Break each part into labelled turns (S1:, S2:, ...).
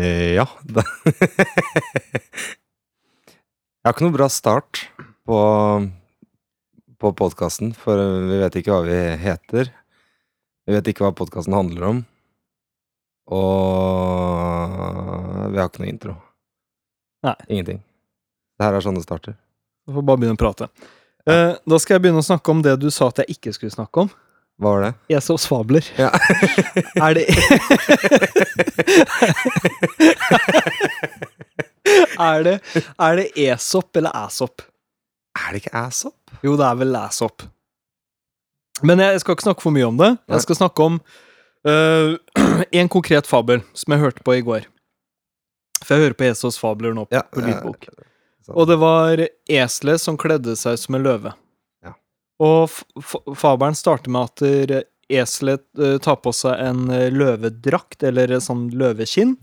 S1: Eh, ja. det- Jeg har ikke noe bra start på, på podkasten, for vi vet ikke hva vi heter. Vi vet ikke hva podkasten handler om. Og vi har ikke noe intro.
S2: Nei.
S1: Ingenting. Det her er sånne starter.
S2: Du får bare begynne å prate. Eh, da skal jeg begynne å snakke om det du sa at jeg ikke skulle snakke om.
S1: Hva var det?
S2: Jeg så svabler.
S1: Ja.
S2: er det Er det Er det E esop eller æsop?
S1: Er det ikke asshole?
S2: Jo, det er vel æsop. Men jeg skal ikke snakke for mye om det.
S1: Nei.
S2: Jeg skal snakke om eh, en konkret fabel som jeg hørte på i går. For jeg hører på E Esos fabler nå på,
S1: Ja, eh,
S2: på
S1: ja,
S2: lydbok.
S1: Sånn.
S2: Og det var eselet som kledde seg som en løve.
S1: Ja.
S2: Og f f- fabelen starter med at eh, eselet eh, tar på seg en eh, løvedrakt, eller eh, sånn løveskinn,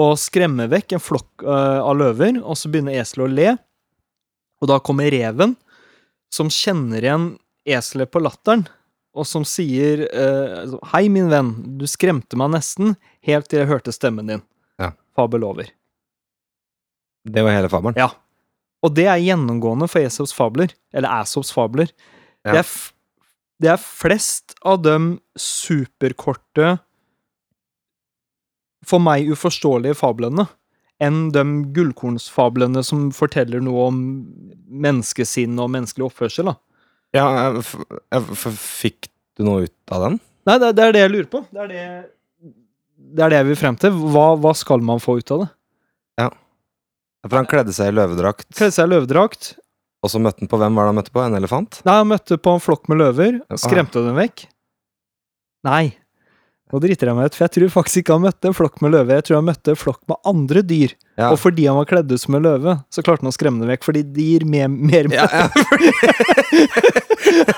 S2: og skremmer vekk en flokk eh, av løver, og så begynner eselet å le. Og da kommer reven, som kjenner igjen eselet på latteren, og som sier eh, altså, Hei, min venn, du skremte meg nesten, helt til jeg hørte stemmen din.
S1: Ja.
S2: Fabel over.
S1: det var hele fabelen.
S2: Ja. Og det er gjennomgående for Esops fabler, eller Asops fabler.
S1: Ja.
S2: Det, er f det er flest av de superkorte, for meg uforståelige fablene, enn de gullkornsfablene som forteller noe om menneskesinn og menneskelig oppførsel. Da.
S1: Ja, jeg, f- jeg, f- fikk du noe ut av den?
S2: Nei, det, det er det jeg lurer på. Det er det, det er det jeg vil frem til. Hva, hva skal man få ut av det?
S1: For han kledde seg i løvedrakt,
S2: Kledde seg i løvedrakt.
S1: og så møtte han på hvem var det han møtte på? En elefant?
S2: Nei, han møtte på en flokk med løver.
S1: Ah.
S2: Skremte dem vekk? Nei. Nå driter jeg meg ut, for jeg tror faktisk ikke han møtte en flokk med løver. Jeg tror han møtte en flokk med andre dyr.
S1: Ja.
S2: Og fordi han var kledd ut som en løve, så klarte han å skremme dem vekk. Fordi de gir mer, mer
S1: Ja, ja.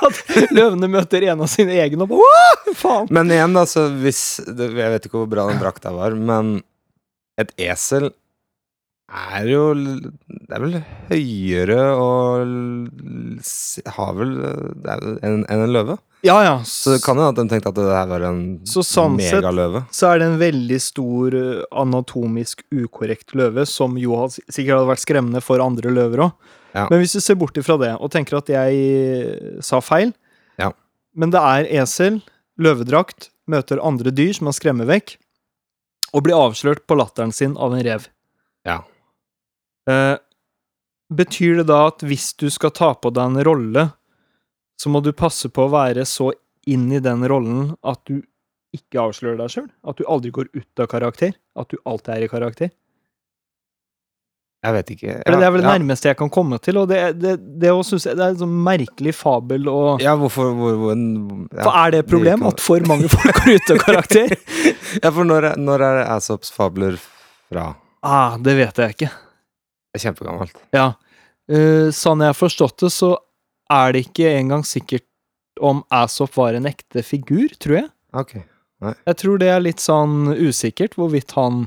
S2: At løvene møter en av sine egne og bare Åh, faen!
S1: Men igjen, da, så hvis det, Jeg vet ikke hvor bra den drakta var, men et esel er jo l- Det er vel høyere og l- s- har vel det er vel en- enn en løve.
S2: Ja, ja.
S1: Så det kan jo at de tenkte at det her var en
S2: Så sånn sett-
S1: megaløve.
S2: så er det en veldig stor eh, anatomisk ukorrekt løve, som jo har- sikkert hadde vært skremmende for andre løver òg.
S1: Ja.
S2: Men hvis du ser bort ifra det, og tenker at jeg eh, sa feil
S1: Ja.
S2: Men det er esel, løvedrakt, møter andre dyr som man skremmer vekk, og blir avslørt på latteren sin av en rev.
S1: Ja.
S2: Eh, betyr det da at hvis du skal ta på deg en rolle, så må du passe på å være så inn i den rollen at du ikke avslører deg sjøl. At du aldri går ut av karakter. At du alltid er i karakter.
S1: Jeg vet ikke.
S2: For det er vel det
S1: ja,
S2: nærmeste jeg kan komme til, og det, det, det, å synes jeg, det er en sånn merkelig fabel å
S1: ja, hvorfor hvor, hvor, ja.
S2: For er det et problem
S1: kan-
S2: at for mange folk går ut av karakter?
S1: ja, for når, er- når er Asops fabler fra?
S2: ah, det vet jeg ikke.
S1: Det er kjempegammelt.
S2: Ja. Eh, sånn jeg har forstått det, så er det ikke engang sikkert om Asop var en ekte figur, tror jeg.
S1: Ok.
S2: Jeg tror det er litt sånn usikkert hvorvidt han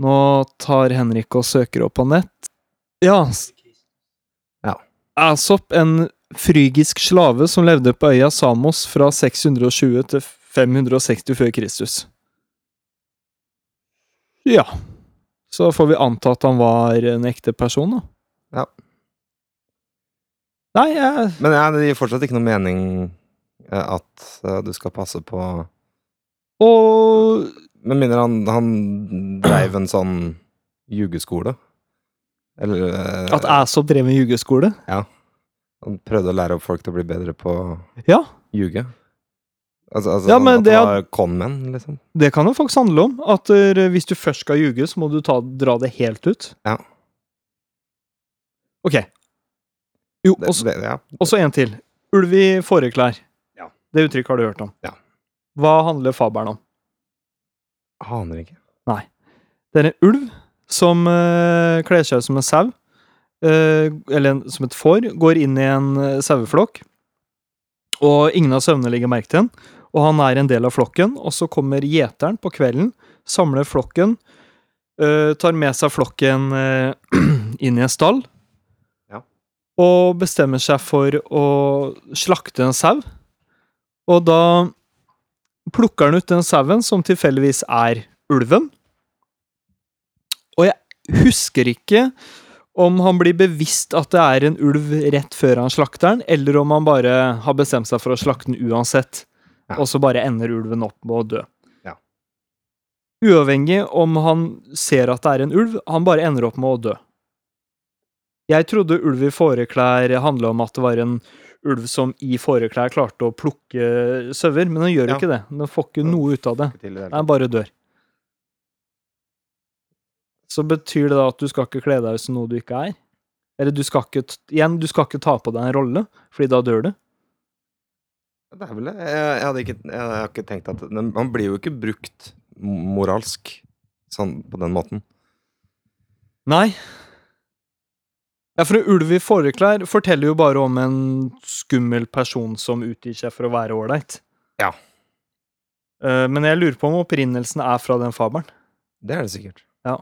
S2: Nå tar Henrik og søker opp på nett. Ja. s-
S1: Ja.
S2: Aesop, en frygisk slave som levde på øya Samos fra 620 til 560 før Kristus. Ja. Så får vi anta at han var en ekte person, da.
S1: Ja.
S2: Nei, jeg
S1: Men ja, det gir fortsatt ikke noe mening eh, at eh, du skal passe på
S2: Og
S1: Med mindre han, han dreiv en sånn jugeskole. Eller eh,
S2: at Aesop drev med jugeskole?
S1: han prøvde å lære opp folk til å bli bedre på å
S2: Ja.
S1: ljuge. Altså, altså
S2: Ja,
S1: sånn
S2: men
S1: at
S2: det
S1: det
S2: er-
S1: var conmen, liksom.
S2: Det kan jo faktisk handle om at eh, hvis du først skal ljuge, så må du ta, dra det helt ut.
S1: Ja.
S2: Ok. Jo,
S1: Det,
S2: og så-
S1: det, ja.
S2: og så en til. Ulv i fåreklær.
S1: Ja.
S2: Det uttrykket har du hørt om.
S1: Ja.
S2: Hva handler fabelen om?
S1: Aner ikke.
S2: Det er en ulv som eh, kler seg ut som en sau, eh, eller en, som et får, går inn i en eh, saueflokk, og ingen av sauene legger merke til den, og han er en del av flokken, og så kommer gjeteren på kvelden, samler flokken, eh, tar med seg flokken eh, inn i en stall,
S1: Ja.
S2: og bestemmer seg for å slakte en sau, og da plukker han ut den sauen som tilfeldigvis er ulven, husker ikke om han blir bevisst at det er en ulv rett før han slakter den, eller om han bare har bestemt seg for å slakte den uansett,
S1: Ja.
S2: og så bare ender ulven opp med å dø.
S1: Ja.
S2: Uavhengig om han ser at det er en ulv, han bare ender opp med å dø. Jeg trodde ulv i fåreklær handla om at det var en ulv som i fåreklær klarte å plukke sauer, men den gjør jo
S1: Ja.
S2: ikke det. Den får ikke noe ut av det.
S1: Ikke til i det hele
S2: Nei,
S1: tatt.
S2: bare dør. Så betyr det da at du skal ikke kle deg ut som noe du ikke er? Eller du skal ikke, t- igjen, du skal ikke ta på deg en rolle, fordi da dør du.
S1: Det er vel det. Jeg, jeg, hadde ikke, jeg har ikke tenkt at den, Man blir jo ikke brukt m- moralsk sånn på den måten.
S2: Nei. Ja, for en ulv i fåreklær forteller jo bare om en skummel person som utgir seg for å være ålreit.
S1: Ja.
S2: Eh, Men jeg lurer på om opprinnelsen er fra den fabelen.
S1: Det er det sikkert.
S2: Ja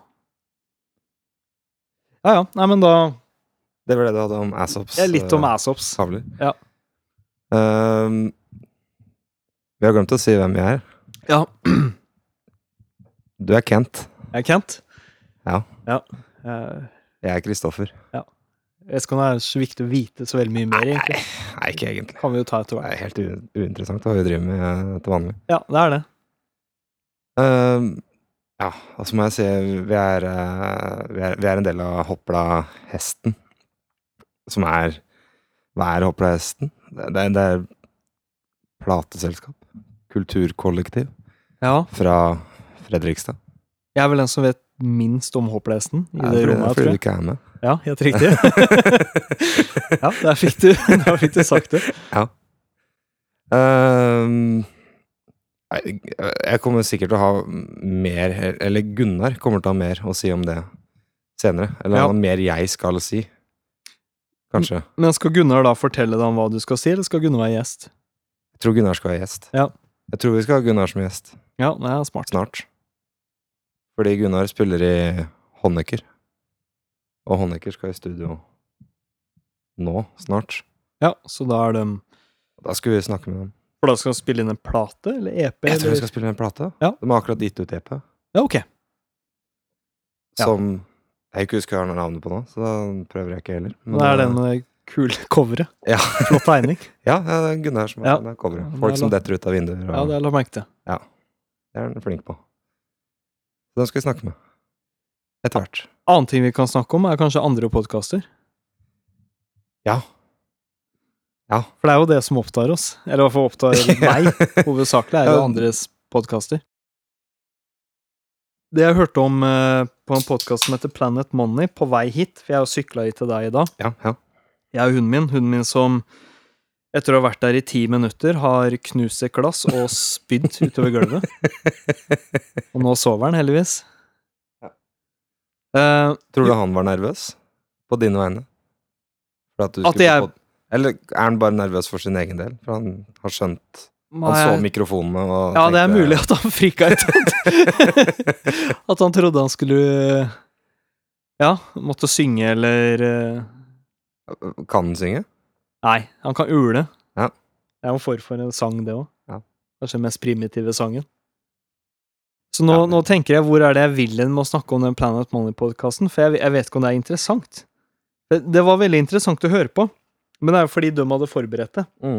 S2: ja, nei, men da
S1: Det var det du hadde om Assops.
S2: ja, Litt om
S1: eh,
S2: assops.
S1: Savler.
S2: Ja.
S1: Ehm, vi har glemt å si hvem jeg er.
S2: Ja.
S1: Du er Kent.
S2: Jeg er Kent.
S1: Ja.
S2: ja. Eh,
S1: Jeg er Kristoffer.
S2: Jeg skal det er så viktig å vite så veldig mye mer, egentlig.
S1: Nei, ikke egentlig.
S2: Kan vi jo ta etter
S1: Det
S2: hvert.
S1: er helt u uinteressant hva vi driver med eh, til vanlig.
S2: Ja, det er det.
S1: Ehm, ja, og så må jeg si vi er, eh, vi, er, vi er en del av Hopla-hesten. Som er Hva er Hopla-hesten? Det, det, er- det er plateselskap. Kulturkollektiv
S2: Ja,
S1: fra Fredrikstad.
S2: jeg er vel den som vet minst om håplesen i
S1: Ja,
S2: det
S1: fordi,
S2: rommet, her,
S1: fordi
S2: tror
S1: du
S2: jeg.
S1: ikke er med.
S2: Ja, helt riktig. ja, der fikk du, der fikk du sagt det.
S1: Ehm, nei, jeg kommer sikkert til å ha mer Eller Gunnar kommer til å ha mer å si om det senere. Eller
S2: Ja.
S1: han har mer jeg skal si. Kanskje.
S2: Men skal Gunnar da fortelle deg om hva du skal si, eller skal Gunnar være gjest?
S1: Jeg tror Gunnar skal ha gjest.
S2: Ja.
S1: Jeg tror vi skal ha Gunnar som gjest
S2: Ja, det er smart.
S1: snart. Fordi Gunnar spiller i Honneker. Og Honneker skal i studio nå, snart.
S2: Ja, så da er det
S1: Da skal vi snakke med dem.
S2: For da skal han spille inn en plate, eller EP?
S1: Jeg tror
S2: eller?
S1: de skal spille en plate.
S2: Ja.
S1: De har akkurat gitt ut E EP.
S2: Ja, ok. Ja.
S1: Som jeg ikke husker hva navnet på nå, så da prøver jeg ikke heller. Men,
S2: Det er den
S1: eh,
S2: med det kule coveret.
S1: Ja.
S2: Flott tegning.
S1: ja, ja, det er Gunnar som har
S2: Ja.
S1: den der coveret.
S2: Ja, det er
S1: Folk som
S2: lov.
S1: detter ut av vinduer. Og,
S2: Ja, det har jeg lagt merke til.
S1: Det er han flink på. Så den skal vi snakke med. Etter hvert.
S2: Annen ting vi kan snakke om, er kanskje andre podkaster.
S1: Ja. Ja.
S2: For det er jo det som opptar oss. Eller i hvert fall opptar meg, hovedsakelig, er jo andres podkaster. Det jeg hørte om eh, på en podkast som heter Planet Money, på vei hit, for jeg har jo sykla hit til deg i dag,
S1: Ja, ja.
S2: jeg og hunden min, hunden min som etter å ha vært der i ti minutter, har knust et glass og spydd utover gulvet. Og nå sover han, heldigvis.
S1: Ja.
S2: Eh,
S1: Tror du han var nervøs på dine vegne? For at du
S2: At
S1: skulle
S2: jeg-
S1: få- Eller er han bare nervøs for sin egen del? For han har skjønt Han
S2: nei,
S1: så mikrofonene og
S2: Ja, det er
S1: tenkte,
S2: mulig at han frika ut. at han trodde han skulle Ja, måtte synge eller eh,
S1: "Øh, Kan han synge?
S2: Nei, han kan ule.
S1: Ja.
S2: Det er jo en form for en sang, det òg.
S1: Ja.
S2: Kanskje den mest primitive sangen. Så nå,
S1: Ja, men-
S2: nå tenker jeg hvor er det jeg vil hen med å snakke om den Planet Money-podkasten, for jeg, jeg vet ikke om det er interessant. Det, det var veldig interessant å høre på, men det er jo fordi de hadde forberedt det.
S1: Mm.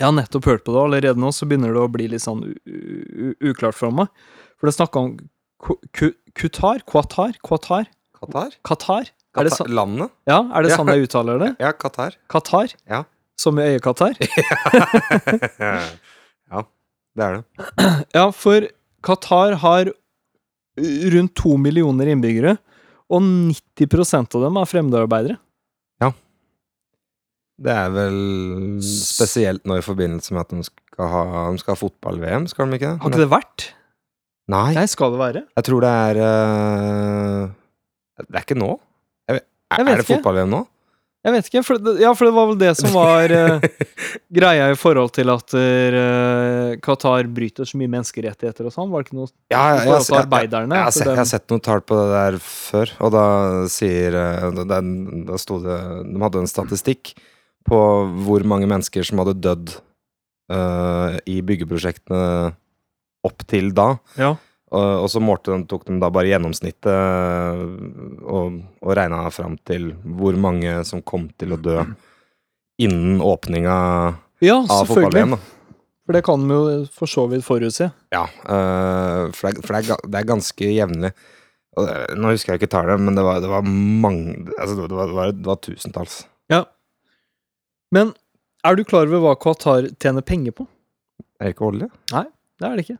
S2: Jeg har nettopp hørt på det, og allerede nå så begynner det å bli litt sånn u u uklart for meg. For det snakka om ku- ku- Qatar? Qatar? Qatar?
S1: Qatar?
S2: Qatar? Er det
S1: Qatar?
S2: sånn,
S1: Landet?
S2: ja, er det
S1: Ja.
S2: sånn jeg uttaler det?
S1: Ja, Qatar.
S2: Qatar?
S1: Ja.
S2: Som i øyekatar?
S1: ja, det er det.
S2: Ja, for Qatar har rundt to millioner innbyggere, og 90 av dem er fremmedarbeidere.
S1: Det er vel spesielt nå i forbindelse med at de skal ha, de skal ha fotball-VM, skal de ikke det?
S2: Har ikke det vært?
S1: Nei,
S2: Nei, skal det være?
S1: jeg tror det er eh, Det er ikke nå? Jeg vet,
S2: Jeg
S1: er,
S2: vet
S1: er det
S2: ikke.
S1: fotball-VM nå?
S2: Jeg vet ikke, for det, ja, for det var vel det som var eh, greia i forhold til at eh, Qatar bryter så mye menneskerettigheter og sånn, var det ikke noe
S1: Ja,
S2: i
S1: jeg, jeg,
S2: forhold til
S1: jeg, jeg,
S2: arbeiderne?
S1: Jeg har,
S2: at
S1: sett, jeg
S2: dem-
S1: har sett noen tall på det der før, og da sier eh, da- da, da sto det De hadde en statistikk på hvor mange mennesker som hadde dødd eh, i byggeprosjektene opp til da.
S2: ja.
S1: Og, og så målte de, tok de da bare gjennomsnittet og, og regna fram til hvor mange som kom til å dø innen åpninga
S2: Ja,
S1: av fotball-VM.
S2: selvfølgelig.
S1: da.
S2: For det kan vi jo for så vidt forutse.
S1: Ja, eh, for, det, er- for det, er, ga- det er ganske jevnlig. Og det- Nå husker jeg ikke tallet, men det var, det var mange altså det, var, det, var, det var tusentalls.
S2: Men er du klar over hva Qatar tjener penger på?
S1: Er det ikke olje?
S2: Det er det ikke.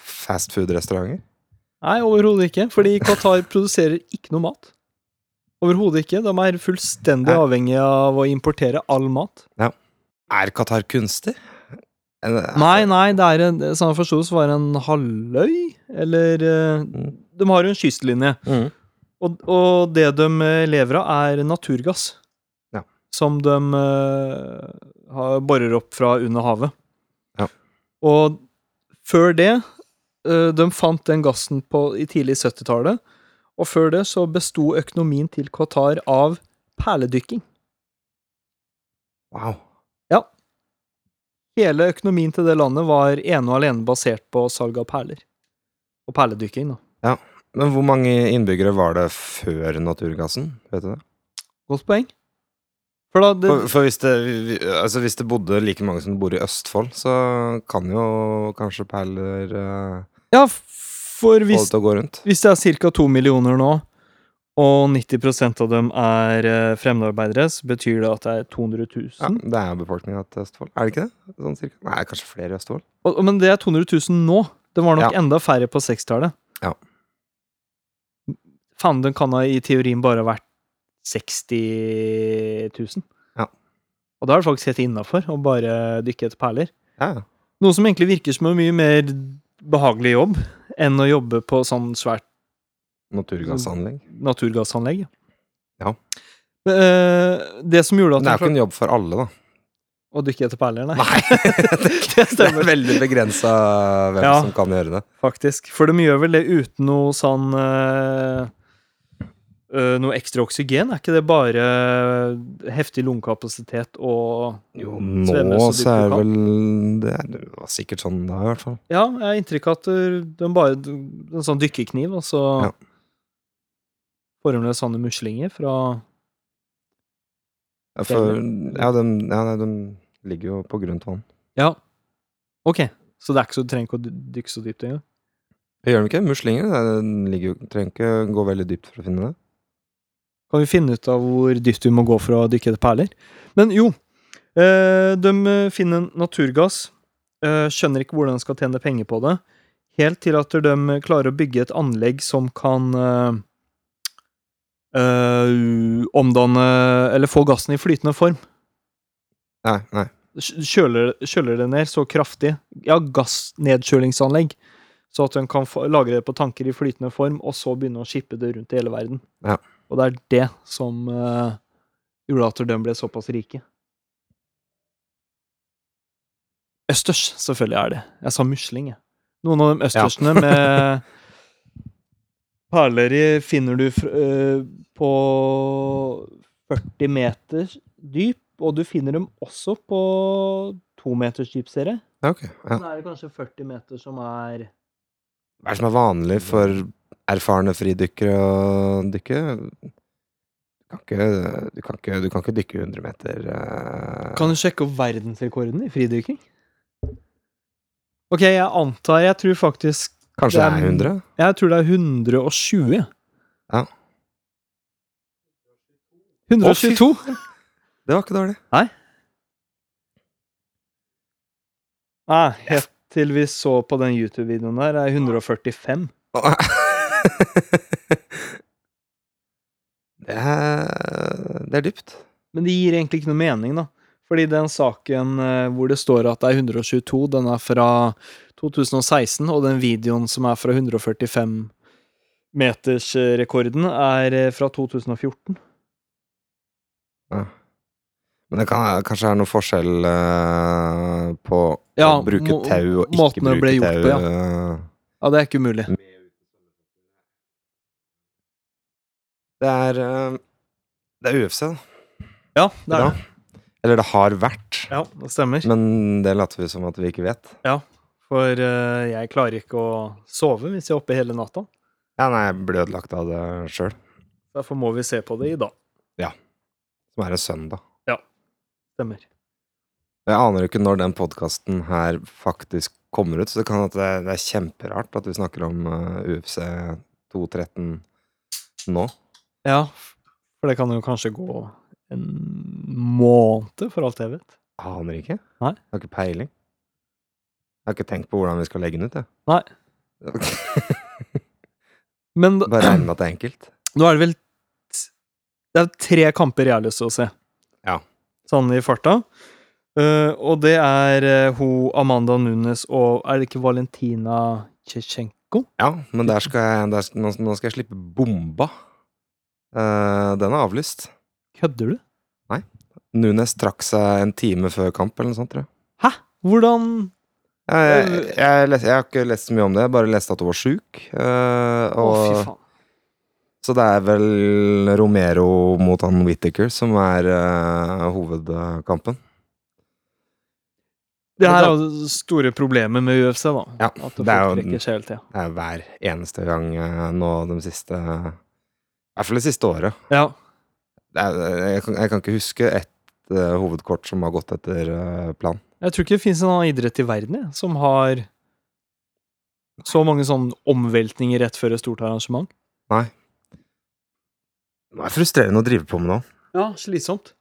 S1: Fast food-restauranter?
S2: Nei, overhodet ikke. Fordi Qatar produserer ikke noe mat. Overhodet ikke. De er fullstendig
S1: Nei.
S2: avhengige av å importere all mat.
S1: Er Qatar kunstig? En- eh,
S2: Nei, nei, det er en, som jeg forsto, så var det en halvøy, eller eh,
S1: Mm.
S2: De har jo en kystlinje,
S1: Mm.
S2: og, og det de eh, lever av, er naturgass.
S1: Ja.
S2: Som de eh, har- borer opp fra under havet.
S1: Ja.
S2: Og før det eh, De fant den gassen på, i tidlig 70-tallet, og før det så besto økonomien til Qatar av perledykking.
S1: Wow.
S2: Hele økonomien til det landet var ene og alene basert på salg av perler. Og perledykking, da.
S1: Men hvor mange innbyggere var det før naturgassen? Vet du det?
S2: Godt poeng. For da det,
S1: For, for hvis, det, vi- vi- altså hvis det bodde like mange som det bor i Østfold, så kan jo kanskje perler eh,
S2: Ja, for
S1: få
S2: hvis,
S1: det til å gå rundt.
S2: hvis det er ca. to millioner nå, og 90 av dem er eh, fremmedarbeidere, så betyr det at det er 200 000.
S1: Ja, det er jo befolkninga til Østfold. Er det ikke det? Sånn cirka? Nei, kanskje flere i Østfold.
S2: Og, og- men det er 200 000 nå. Det var nok
S1: Ja.
S2: enda færre på 60-tallet.
S1: Ja.
S2: Faen, den kan ha i teorien bare ha vært 60 000.
S1: Ja.
S2: Og da er det faktisk helt innafor å bare dykke etter perler.
S1: Ja, ja.
S2: Noe som egentlig virker som en mye mer behagelig jobb enn å jobbe på sånn svært
S1: Naturgassanlegg.
S2: naturgassanlegg.
S1: Ja.
S2: Eh, Det som gjorde
S1: Men det er
S2: at
S1: jo ikke
S2: hun
S1: en jobb for alle, da.
S2: Å dykke etter perler, nei.
S1: Nei,
S2: Det
S1: det er
S2: stemmer,
S1: veldig begrensa hvem
S2: Ja.
S1: som kan gjøre det.
S2: faktisk. For de gjør vel det uten noe sånn eh, eh, Noe ekstra oksygen? Er ikke det bare eh, heftig lungekapasitet og
S1: Jo,
S2: svømme
S1: nå
S2: dypt
S1: så er
S2: du kan?
S1: vel Det er det var sikkert sånn da, i hvert fall.
S2: Ja, jeg har inntrykk av at eh, de bare En sånn dykkekniv, og så
S1: Ja.
S2: former de sånne muslinger fra
S1: Ja, For, ja, de, ja, nei, de ligger jo på grunt vann.
S2: Ja. Ok, så det er ikke så, du trenger ikke å dy- dykke så dypt engang?
S1: Det gjør de ikke. Muslinger de ligger jo, trenger ikke gå veldig dypt for å finne det.
S2: kan vi finne ut av hvor dypt vi må gå for å dykke etter perler. Men jo, eh, de eh, finner naturgass, eh, skjønner ikke hvordan de skal tjene penger på det, helt til at de klarer å bygge et anlegg som kan eh, eh, omdanne Eller få gassen i flytende form.
S1: Nei, nei.
S2: Kj- Kjøler, kjøler det ned så kraftig. Ja, gassnedkjølingsanlegg. Så at de kan få, lagre det på tanker i flytende form, og så begynne å shippe det rundt i hele verden.
S1: Ja.
S2: Og det er det som eh, gjorde at de ble såpass rike. Østers, selvfølgelig er det. Jeg sa musling, jeg. Noen av de østersene med perler i finner du fr eh, på 40 meter dyp, og du finner dem også på to meters dyp, ser jeg.
S1: Ja, ok. Ja.
S2: Så er det kanskje 40 meter som er
S1: Hva er det som er vanlig for erfarne fridykkere å dykke? Du kan ikke, du kan ikke, du kan ikke dykke 100 meter eh,
S2: Kan du sjekke opp verdensrekorden i fridykking? Ok, jeg antar Jeg tror faktisk
S1: Kanskje det er
S2: det er-
S1: 100?
S2: Jeg tror det er 120.
S1: Ja.
S2: 122?
S1: Det var ikke dårlig.
S2: Nei, helt til vi så på den YouTube-videoen der, er 145.
S1: det, er, det er dypt.
S2: Men det gir egentlig ikke noe mening, da. Fordi den saken eh, hvor det står at det er 122, den er fra 2016, og den videoen som er fra 145-metersrekorden, eh, er eh, fra 2014.
S1: Men det kan, kanskje er noe forskjell eh, på
S2: Ja,
S1: å bruke
S2: må-
S1: tau og
S2: måten
S1: ikke
S2: det ble
S1: bruke
S2: gjort
S1: tau. eh,
S2: på, Ja, det er ikke umulig.
S1: Det er eh, Det er UFC, da.
S2: Ja, det er
S1: Bra.
S2: det.
S1: Eller det har vært.
S2: Ja, det stemmer.
S1: Men det later vi som at vi ikke vet.
S2: For eh, jeg klarer ikke å sove hvis jeg er oppe hele natta.
S1: Ja, nei, jeg ble ødelagt av det sjøl.
S2: Derfor må vi se på det i dag.
S1: Som er en søndag.
S2: Stemmer.
S1: Jeg aner jo ikke når den podkasten her faktisk kommer ut, så det kan at det, det er kjemperart at vi snakker om eh, UFC 213 nå.
S2: Ja, for det kan jo kanskje gå en måned, for alt jeg vet.
S1: Aner ikke.
S2: Nei.
S1: Jeg har ikke peiling. Jeg har ikke tenkt på hvordan vi skal legge den ut, jeg.
S2: Nei. Men da,
S1: Bare regner med at det er enkelt.
S2: nå er det vel t- Det er tre kamper jeg har lyst til å se.
S1: Ja.
S2: Sånn i farta. Eh, og det er eh, hun Amanda Nunes og Er det ikke Valentina Tsjetsjenko?
S1: Ja, men der skal jeg, der, nå, nå skal jeg slippe bomba. Eh, den er avlyst.
S2: Kødder du?
S1: Nunes trakk seg en time før kamp, eller noe sånt, tror jeg.
S2: Hvordan
S1: Jeg, jeg, jeg, les- jeg har ikke lest så mye om det, jeg bare leste at hun var sjuk. eh,
S2: Å, fy
S1: og-
S2: faen.
S1: så det er vel Romero mot han Whittaker som er eh, hovedkampen.
S2: Det her er jo det store problemet med UFC, da.
S1: Ja,
S2: At det
S1: det er jo-
S2: foretrekker seg hele tida.
S1: Det er hver eneste gang eh, nå de siste I hvert fall det siste året.
S2: Ja.
S1: Det er, eh, jeg, kan, jeg kan ikke huske ett eh, hovedkort som har gått etter eh, plan.
S2: Jeg tror ikke det finnes en annen idrett i verden jeg, som har så mange sånne omveltninger rett før et stort arrangement.
S1: Det er frustrerende å drive på med nå.
S2: Ja, slitsomt.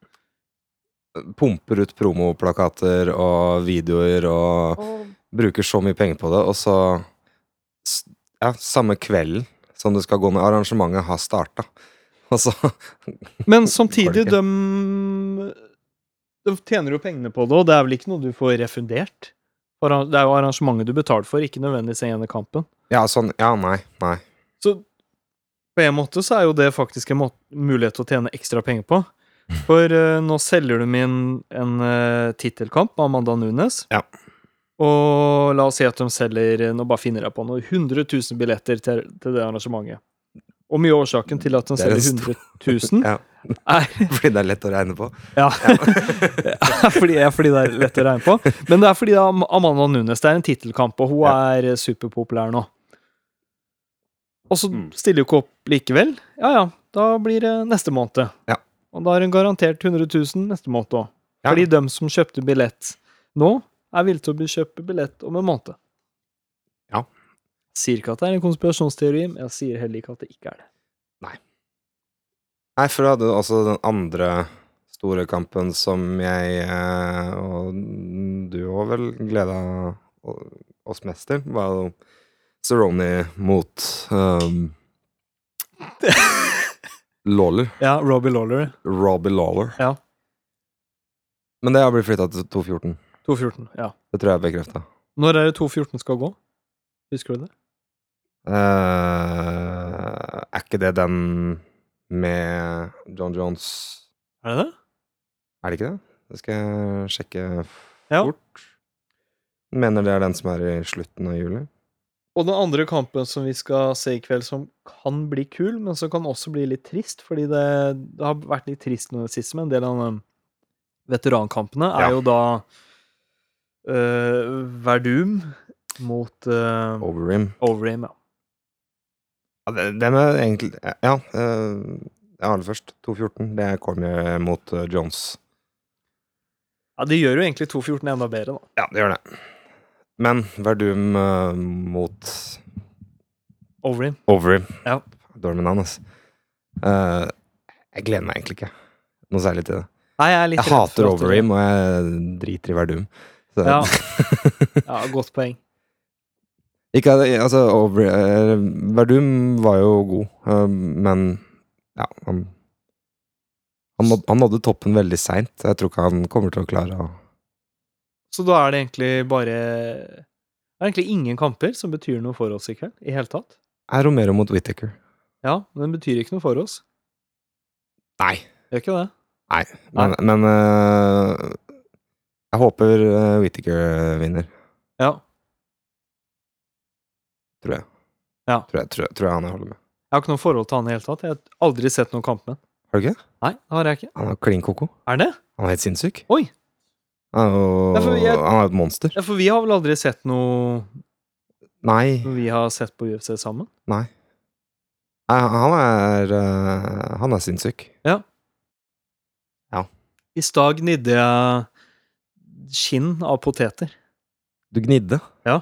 S1: Pumper ut promoplakater og videoer og bruker så mye penger på det, og så s- Ja, samme kvelden som du skal gå ned. Arrangementet har starta. Og så
S2: Men
S1: Har
S2: samtidig,
S1: det
S2: de, de tjener jo pengene på det, og det er vel ikke noe du får refundert? For Det er jo arrangementet du betaler for, ikke nødvendigvis ene kampen.
S1: Ja, sånn Ja, nei. Nei.
S2: Så på en måte så er jo det faktisk en må- mulighet til å tjene ekstra penger på. For eh, nå selger du min en uh, tittelkamp med Amanda Nunes.
S1: Ja.
S2: Og la oss si at de selger eh, Nå bare finner jeg på noe 100 000 billetter til, til det arrangementet. Og mye av årsaken til at de
S1: Det er en
S2: selger 100 000,
S1: Ja,
S2: er
S1: fordi det er lett å regne på.
S2: ja. fordi, ja, fordi det er lett å regne på. Men det er fordi Am- Amanda Nunes det er en tittelkamp, og hun er eh, superpopulær nå. Og så
S1: Mm.
S2: stiller hun ikke opp likevel. Ja ja, da blir det neste måned.
S1: Ja.
S2: Og da er hun garantert 100 000 neste måned òg.
S1: Ja.
S2: Fordi de som kjøpte billett nå, er villige til å bli- kjøpe billett om en måned.
S1: Ja.
S2: Sier ikke at det er en konspirasjonsteori, men jeg sier heller ikke at det ikke er det.
S1: Nei, for du hadde du også den andre store kampen som jeg eh, og du òg vel gleda oss mest til, var jo Cerrone mot um, Lawler.
S2: Ja, Robbie Lawler,
S1: Robbie Lawler.
S2: Ja.
S1: Men det har blitt flytta til 2.14.
S2: 2.14. Ja.
S1: Det tror jeg er bekrefta.
S2: Når er det 2.14 skal gå? Husker du det?
S1: Eh, er ikke det den med John Jones
S2: Er det det?
S1: Er det ikke det? Det skal jeg sjekke f-
S2: Ja.
S1: fort. Mener det er den som er i slutten av juli.
S2: Og den andre kampen som vi skal se i kveld, som kan bli kul, men som kan også bli litt trist, fordi det, det har vært litt trist nå i det siste, men en del av de veterankampene er
S1: Ja.
S2: jo da øh, Verdum mot øh,
S1: Overeem.
S2: Overeem, ja.
S1: Ja, det, det med egentlig Ja, eh, jeg har det først. 2.14. Det er Cormier mot eh, Jones.
S2: ja. Det gjør jo egentlig 2.14 enda bedre, da.
S1: Ja, det gjør det. Men Verdum eh, mot
S2: Overeem.
S1: Overeem.
S2: Ja.
S1: Dårlig med navn, altså. Eh, jeg gleder meg egentlig ikke noe særlig til det.
S2: Nei, jeg er litt
S1: Jeg hater Overeem, og jeg driter i Verdum. Så,
S2: Ja. Ja, godt poeng.
S1: ikke, at- altså, Overeem eh, Verdum var jo god, eh, men ja han, han, nådde, han nådde toppen veldig seint. Jeg tror ikke han kommer til å klare å
S2: Så da er det egentlig bare Det er egentlig ingen kamper som betyr noe for oss i kveld, i hele tatt.
S1: Er Romero mot Whittaker?
S2: Ja, men den betyr ikke noe for oss.
S1: Nei.
S2: Gjør ikke det?
S1: Men, men eh, jeg håper uh, Whittaker vinner,
S2: Ja.
S1: tror jeg.
S2: Ja.
S1: Tror jeg, tror jeg. Tror jeg han jeg holder med.
S2: Jeg har ikke noe forhold til han i det hele tatt. Jeg har aldri sett noen kamp med han.
S1: Har du ikke?
S2: Nei, det har jeg ikke.
S1: Han er klin koko.
S2: Er det?
S1: Han er helt sinnssyk.
S2: Oi.
S1: Han er jo-
S2: Ja, for jeg-
S1: han er jo et monster.
S2: Ja, for vi har vel aldri sett noe
S1: Nei.
S2: vi har sett på UFC sammen?
S1: Nei. Nei, Han er eh, Han er sinnssyk.
S2: I stad gnidde jeg skinn av poteter.
S1: Du gnidde?
S2: Ja.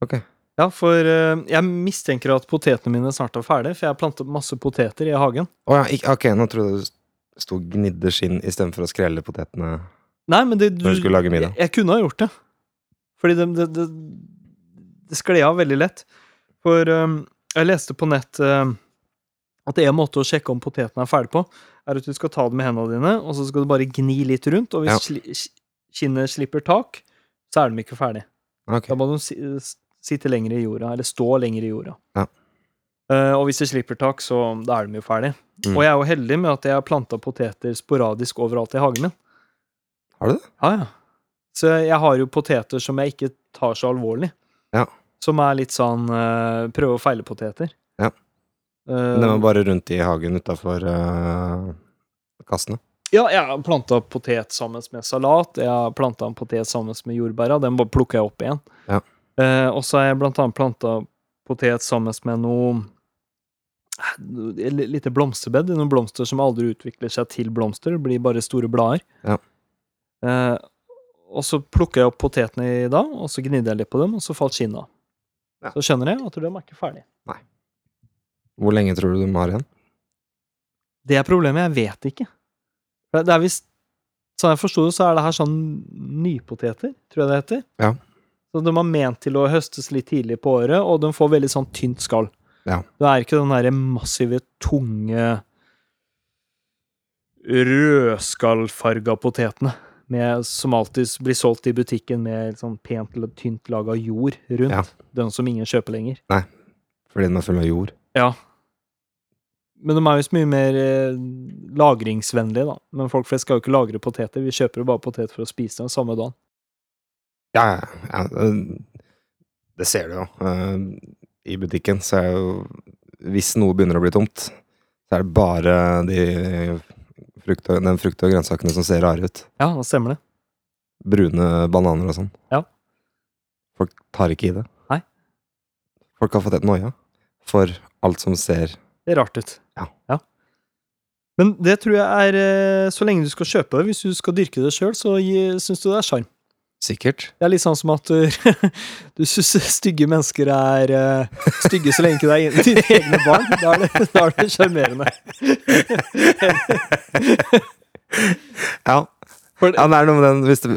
S1: Ok.
S2: Ja, for eh, jeg mistenker at potetene mine snart er ferdige, for jeg har plantet masse poteter i hagen.
S1: Å ja, ikk- ok, nå trodde jeg du sto og gnidde skinn istedenfor å skrelle potetene
S2: Nei, men det
S1: når du skulle lage middag.
S2: Jeg, jeg kunne ha gjort det. Fordi det, det, det, det skled av veldig lett. For øhm, jeg leste på nett øhm, at en måte å sjekke om potetene er ferdig på, er at du skal ta dem med hendene dine, og så skal du bare gni litt rundt. Og hvis
S1: Ja.
S2: sli- sk- skinnet slipper tak, så er de ikke ferdig.
S1: Ah, Ok.
S2: Da må de si, s- sitte lenger i jorda, eller stå lenger i jorda.
S1: Ja.
S2: Eh, og hvis de slipper tak, så da er de jo ferdig.
S1: Mm.
S2: Og jeg er jo heldig med at jeg har planta poteter sporadisk overalt i hagen min.
S1: Har du det?
S2: Ja, ja. Så jeg har jo poteter som jeg ikke tar så alvorlig.
S1: Ja.
S2: Som er litt sånn eh, prøve og feile-poteter.
S1: Ja.
S2: Eh,
S1: Den var bare rundt i hagen utafor kassene.
S2: ja, jeg har planta potet sammen med salat. Jeg har planta en potet sammen med jordbæra. Den bare plukka jeg opp igjen.
S1: Ja.
S2: Eh, og så har jeg blant annet planta potet sammen med noe eh, et lite blomsterbed. Noen blomster som aldri utvikler seg til blomster. Det blir bare store blader.
S1: Ja.
S2: Eh, og så plukka jeg opp potetene i dag, og så gnidde jeg litt på dem, og så falt skinnet av.
S1: Ja.
S2: Så skjønner jeg at de er ikke ferdig.
S1: Hvor lenge tror du de har igjen?
S2: Det er problemet, jeg vet ikke. Det det er visst Sånn jeg forsto det, så er det her sånn nypoteter, tror jeg det heter.
S1: Ja.
S2: Så de er ment til å høstes litt tidlig på året, og de får veldig sånn tynt skall.
S1: Ja.
S2: Det er ikke den derre massive, tunge rødskallfarga potetene med, som alltid blir solgt i butikken med sånn pent, eller tynt laga jord rundt.
S1: Ja.
S2: Den som ingen kjøper lenger.
S1: Fordi den er full av jord.
S2: Ja. Men de er jo så mye mer eh, lagringsvennlige, da. Men folk flest skal jo ikke lagre poteter. Vi kjøper jo bare poteter for å spise dem samme dagen.
S1: Ja, ja, ja. det- Det ser du jo. Eh, I butikken så er jo Hvis noe begynner å bli tomt, så er det bare de frukt og, den frukt og grønnsakene som ser rare ut.
S2: Ja, da stemmer det.
S1: Brune bananer og sånn.
S2: Ja.
S1: Folk tar ikke i det.
S2: Nei.
S1: Folk har fått et noia for alt som ser
S2: Det er rart ut.
S1: Ja.
S2: Men det tror jeg er eh, Så lenge du skal kjøpe det, hvis du skal dyrke det sjøl, så syns du det er sjarm.
S1: Sikkert.
S2: Det er litt sånn som at du, du syns stygge mennesker er eh, stygge så lenge det er dine egne barn. Da er det- da er det sjarmerende.
S1: Ja.
S2: For-
S1: ja, det er noe med den hvis det,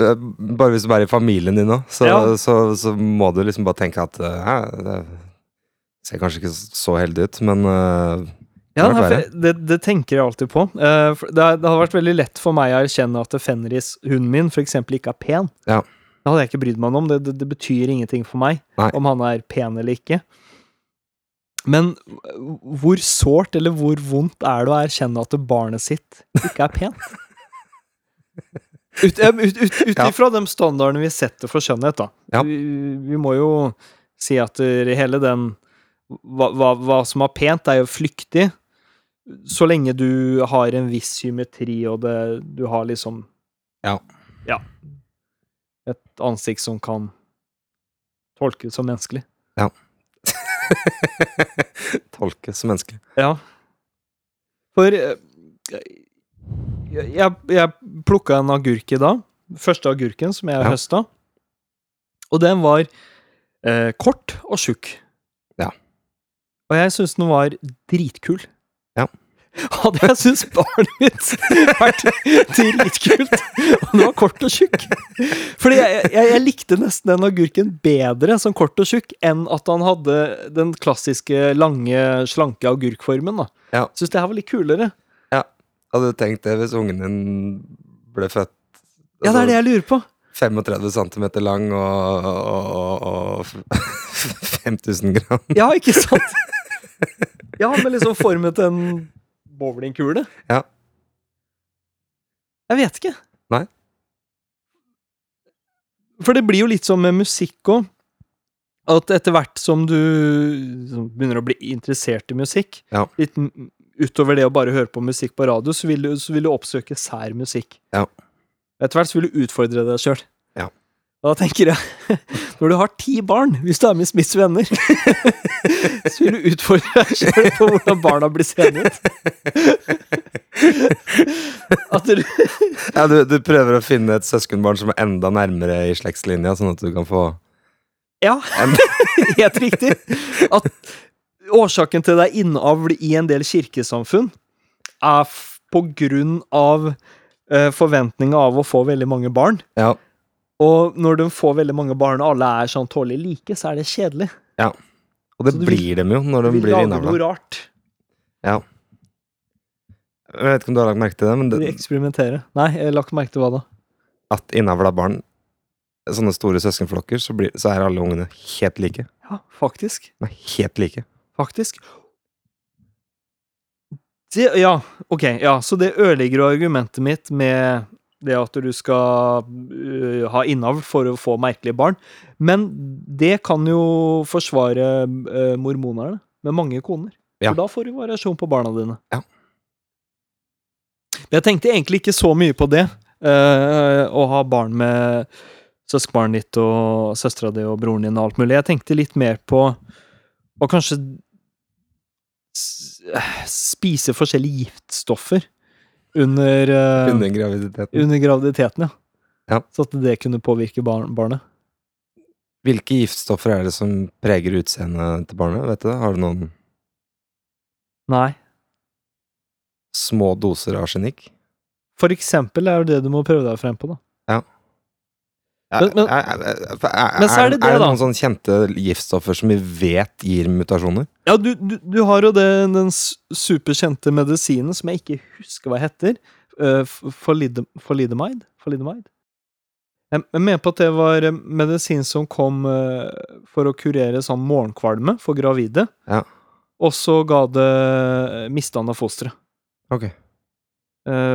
S1: Bare hvis du er i familien din nå, så,
S2: Ja.
S1: så, så må du liksom bare tenke at eh, ja, det ser kanskje ikke så heldig ut, men eh, Det
S2: Ja,
S1: har vært
S2: nei, for det, det tenker jeg alltid på. Eh, for det, det hadde vært veldig lett for meg å erkjenne at Fenris, hunden min, for eksempel, ikke er pen.
S1: Ja.
S2: Det hadde jeg ikke brydd meg om. Det, det, det betyr ingenting for meg
S1: Nei.
S2: om han er pen eller ikke. Men hvor sårt eller hvor vondt er det å erkjenne at barnet sitt ikke er pent? Ut, eh, ut, ut, ut
S1: Ja.
S2: ifra de standardene vi setter for skjønnhet, da.
S1: Ja.
S2: Vi, vi må jo si at eh, hele den hva, hva, hva som er pent, er jo flyktig. Så lenge du har en viss symmetri, og det, du har liksom
S1: Ja.
S2: ja. Et ansikt som kan tolkes som menneskelig.
S1: Tolkes som menneske.
S2: Ja. For eh, jeg, jeg, jeg plukka en agurk i dag. Første agurken som jeg
S1: Ja.
S2: høsta. Og den var eh, kort og tjukk.
S1: Ja.
S2: Og jeg syns den var dritkul.
S1: Ja.
S2: Hadde jeg syntes barnet mitt vært dritkult, og den var kort og tjukk Fordi jeg, jeg, jeg likte nesten den agurken bedre som kort og tjukk enn at han hadde den klassiske lange, slanke agurkformen. da.
S1: Ja.
S2: Syns det her var litt kulere.
S1: Hadde du tenkt det hvis ungen din ble født Altså,
S2: Ja, det er det jeg lurer på.
S1: 35 cm lang og, og, og, og 5000 gram?
S2: Ja, ikke sant? Ja, men liksom formet en bowlingkule.
S1: Ja.
S2: Jeg vet ikke.
S1: Nei.
S2: For det blir jo litt som med musikk òg. At etter hvert som du liksom begynner å bli interessert i musikk,
S1: Ja.
S2: litt m- utover det å bare høre på musikk på radio, så vil du, så vil du oppsøke sær musikk.
S1: Ja.
S2: Etter hvert så vil du utfordre deg sjøl.
S1: Ja.
S2: Da tenker jeg Når du har ti barn, hvis du er med i Smiths venner, så vil du utfordre deg sjøl på hvordan barna blir seende ut. At du
S1: Ja, du, du prøver å finne et søskenbarn som er enda nærmere i slektslinja, sånn at du kan få
S2: Ja,
S1: en
S2: helt riktig. At årsaken til det er innavl i en del kirkesamfunn, er f- på grunn av eh, forventninga av å få veldig mange barn.
S1: Ja.
S2: Og når de får veldig mange barn, og alle er sånn tålelig like, så er det kjedelig.
S1: Og det
S2: Så du vil-
S1: blir dem jo når de
S2: Vi
S1: blir
S2: lager
S1: innavla.
S2: noe rart.
S1: Jeg vet ikke om du har lagt merke til det, men
S2: Vi
S1: det,
S2: eksperimenterer. Nei, jeg la ikke merke til hva da.
S1: at innavla barn Sånne store søskenflokker, så, blir, så er alle ungene helt like.
S2: Ja, faktisk.
S1: De er helt like.
S2: Faktisk. Det, ja, ok. Ja, så det ødelegger jo argumentet mitt med det at du skal øh, ha innavl for å få merkelige barn. Men det kan jo forsvare øh, mormonerne med mange koner.
S1: Ja.
S2: For da får du variasjon på barna dine.
S1: Ja.
S2: Men Jeg tenkte egentlig ikke så mye på det. øh, å ha barn med søskenbarnet ditt og søstera di og broren din og alt mulig. Jeg tenkte litt mer på og kanskje s- eh, spise forskjellige giftstoffer under, eh,
S1: Under graviditeten.
S2: under graviditeten, ja.
S1: Ja.
S2: Så at det kunne påvirke barn, barnet.
S1: Hvilke giftstoffer er det som preger utseendet til barnet? Vet du? det? Har du noen
S2: Nei.
S1: små doser arsenikk?
S2: For eksempel er jo det du må prøve deg frem på, da.
S1: Ja,
S2: Men- men-
S1: er, er, er,
S2: Men så er det det,
S1: er det
S2: da.
S1: noen sånne kjente giftstoffer som vi vet gir mutasjoner?
S2: Ja, du, du, du har jo det, den s- superkjente medisinen som jeg ikke husker hva heter. eh, f- forlide- Forlidemide? Forlidemide? Jeg jeg mener på at det var eh, medisin som kom eh, for å kurere sånn morgenkvalme for gravide.
S1: Ja.
S2: Og så ga det eh, misdanna fostre.
S1: Ok.
S2: Eh,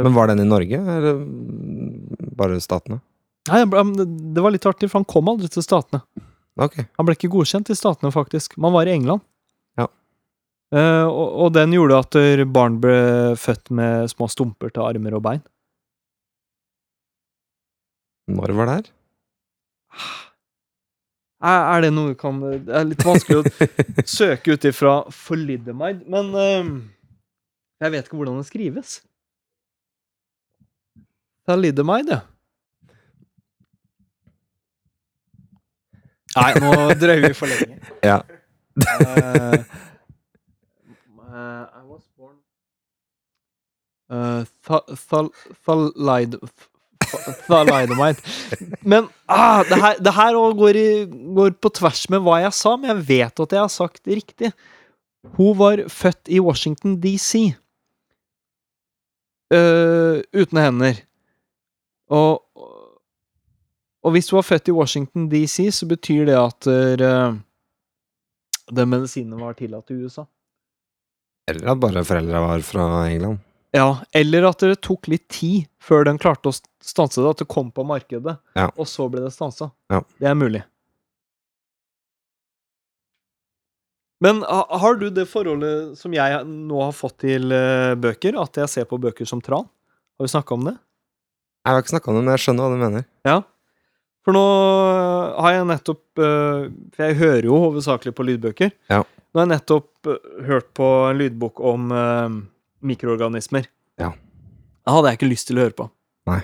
S1: Men var den i Norge, eller mm, bare statene?
S2: nei, jeg ble- men det- det var litt artig, for han kom aldri til Statene.
S1: Ok.
S2: Han ble ikke godkjent i statene, faktisk. Man var i England.
S1: Ja.
S2: Eh, og, og den gjorde at der barn ble født med små stumper til armer og bein.
S1: Når var det her?
S2: Er, er det noe du kan Det er litt vanskelig å søke ut ifra Forlidemide, men eh, Jeg vet ikke hvordan det skrives. Forlidemide, ja. Nei, nå drøyer vi for lenge.
S1: Ja.
S2: Eh, eh, I was born Eh, tha- thal- thalide- th- Thalidomide. Men ah, det her, det her også går, i, går på tvers med hva jeg sa, men jeg vet at jeg har sagt det riktig. Hun var født i Washington DC. Eh, uten hender. Og, og hvis hun var født i Washington DC, så betyr det at eh, den medisinen var tillatt i USA.
S1: Eller at bare foreldra var fra England.
S2: Ja, eller at det tok litt tid før den klarte å st- stanse det, at det kom på markedet,
S1: Ja.
S2: og så ble det stansa.
S1: Ja.
S2: Det er mulig. Men ha- har du det forholdet som jeg nå har fått til eh, bøker, at jeg ser på bøker som tran? Har vi snakka om det?
S1: Jeg har ikke snakka om det, men jeg skjønner hva du mener.
S2: Ja. For nå øh, har jeg nettopp øh, For jeg hører jo hovedsakelig på lydbøker.
S1: Ja.
S2: Nå har jeg nettopp øh, hørt på en lydbok om øh, mikroorganismer.
S1: Ja.
S2: Det hadde jeg ikke lyst til å høre på.
S1: Nei.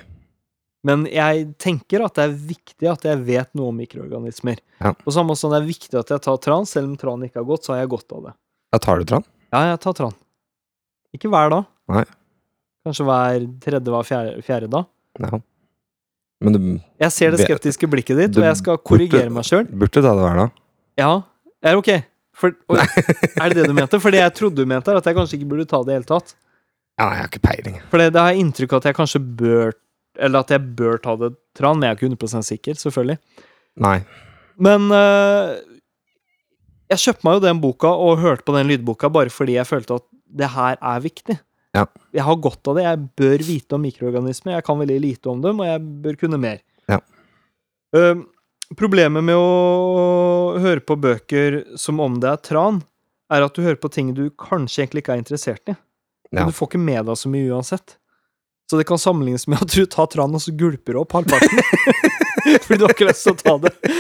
S2: Men jeg tenker at det er viktig at jeg vet noe om mikroorganismer.
S1: Ja.
S2: På samme måte som det er viktig at jeg tar tran, selv om tran ikke har gått, så har jeg godt av det.
S1: Ja, tar du tran?
S2: Ja, jeg tar tran. Ikke hver dag.
S1: Nei.
S2: Kanskje hver tredje, hver fjerde, fjerde dag.
S1: Ja. Men du
S2: Jeg ser det
S1: Vet-
S2: skeptiske blikket ditt,
S1: Du
S2: og jeg skal
S1: burde-
S2: korrigere meg sjøl.
S1: burde ta det hver dag.
S2: Ja, er det ok? For, oi, er det det du mente? For det jeg trodde du mente, er at jeg kanskje ikke burde ta det i det hele tatt.
S1: Ja, nei, jeg har ikke peiling.
S2: For det, det har jeg inntrykk av at jeg kanskje bør Eller at jeg bør ta det tran, men jeg er ikke 100 sikker, selvfølgelig.
S1: Nei.
S2: Men eh, jeg kjøpte meg jo den boka og hørte på den lydboka bare fordi jeg følte at det her er viktig.
S1: Ja.
S2: Jeg har godt av det. Jeg bør vite om mikroorganismer. Jeg kan veldig lite om dem, og jeg bør kunne mer.
S1: Ja.
S2: Eh, problemet med å høre på bøker som om det er tran, er at du hører på ting du kanskje egentlig ikke er interessert i. Men
S1: Ja.
S2: Du får ikke med deg så mye uansett. Så det kan sammenlignes med at du tar tran og så gulper du opp halvparten. Fordi du har ikke lyst til å ta det.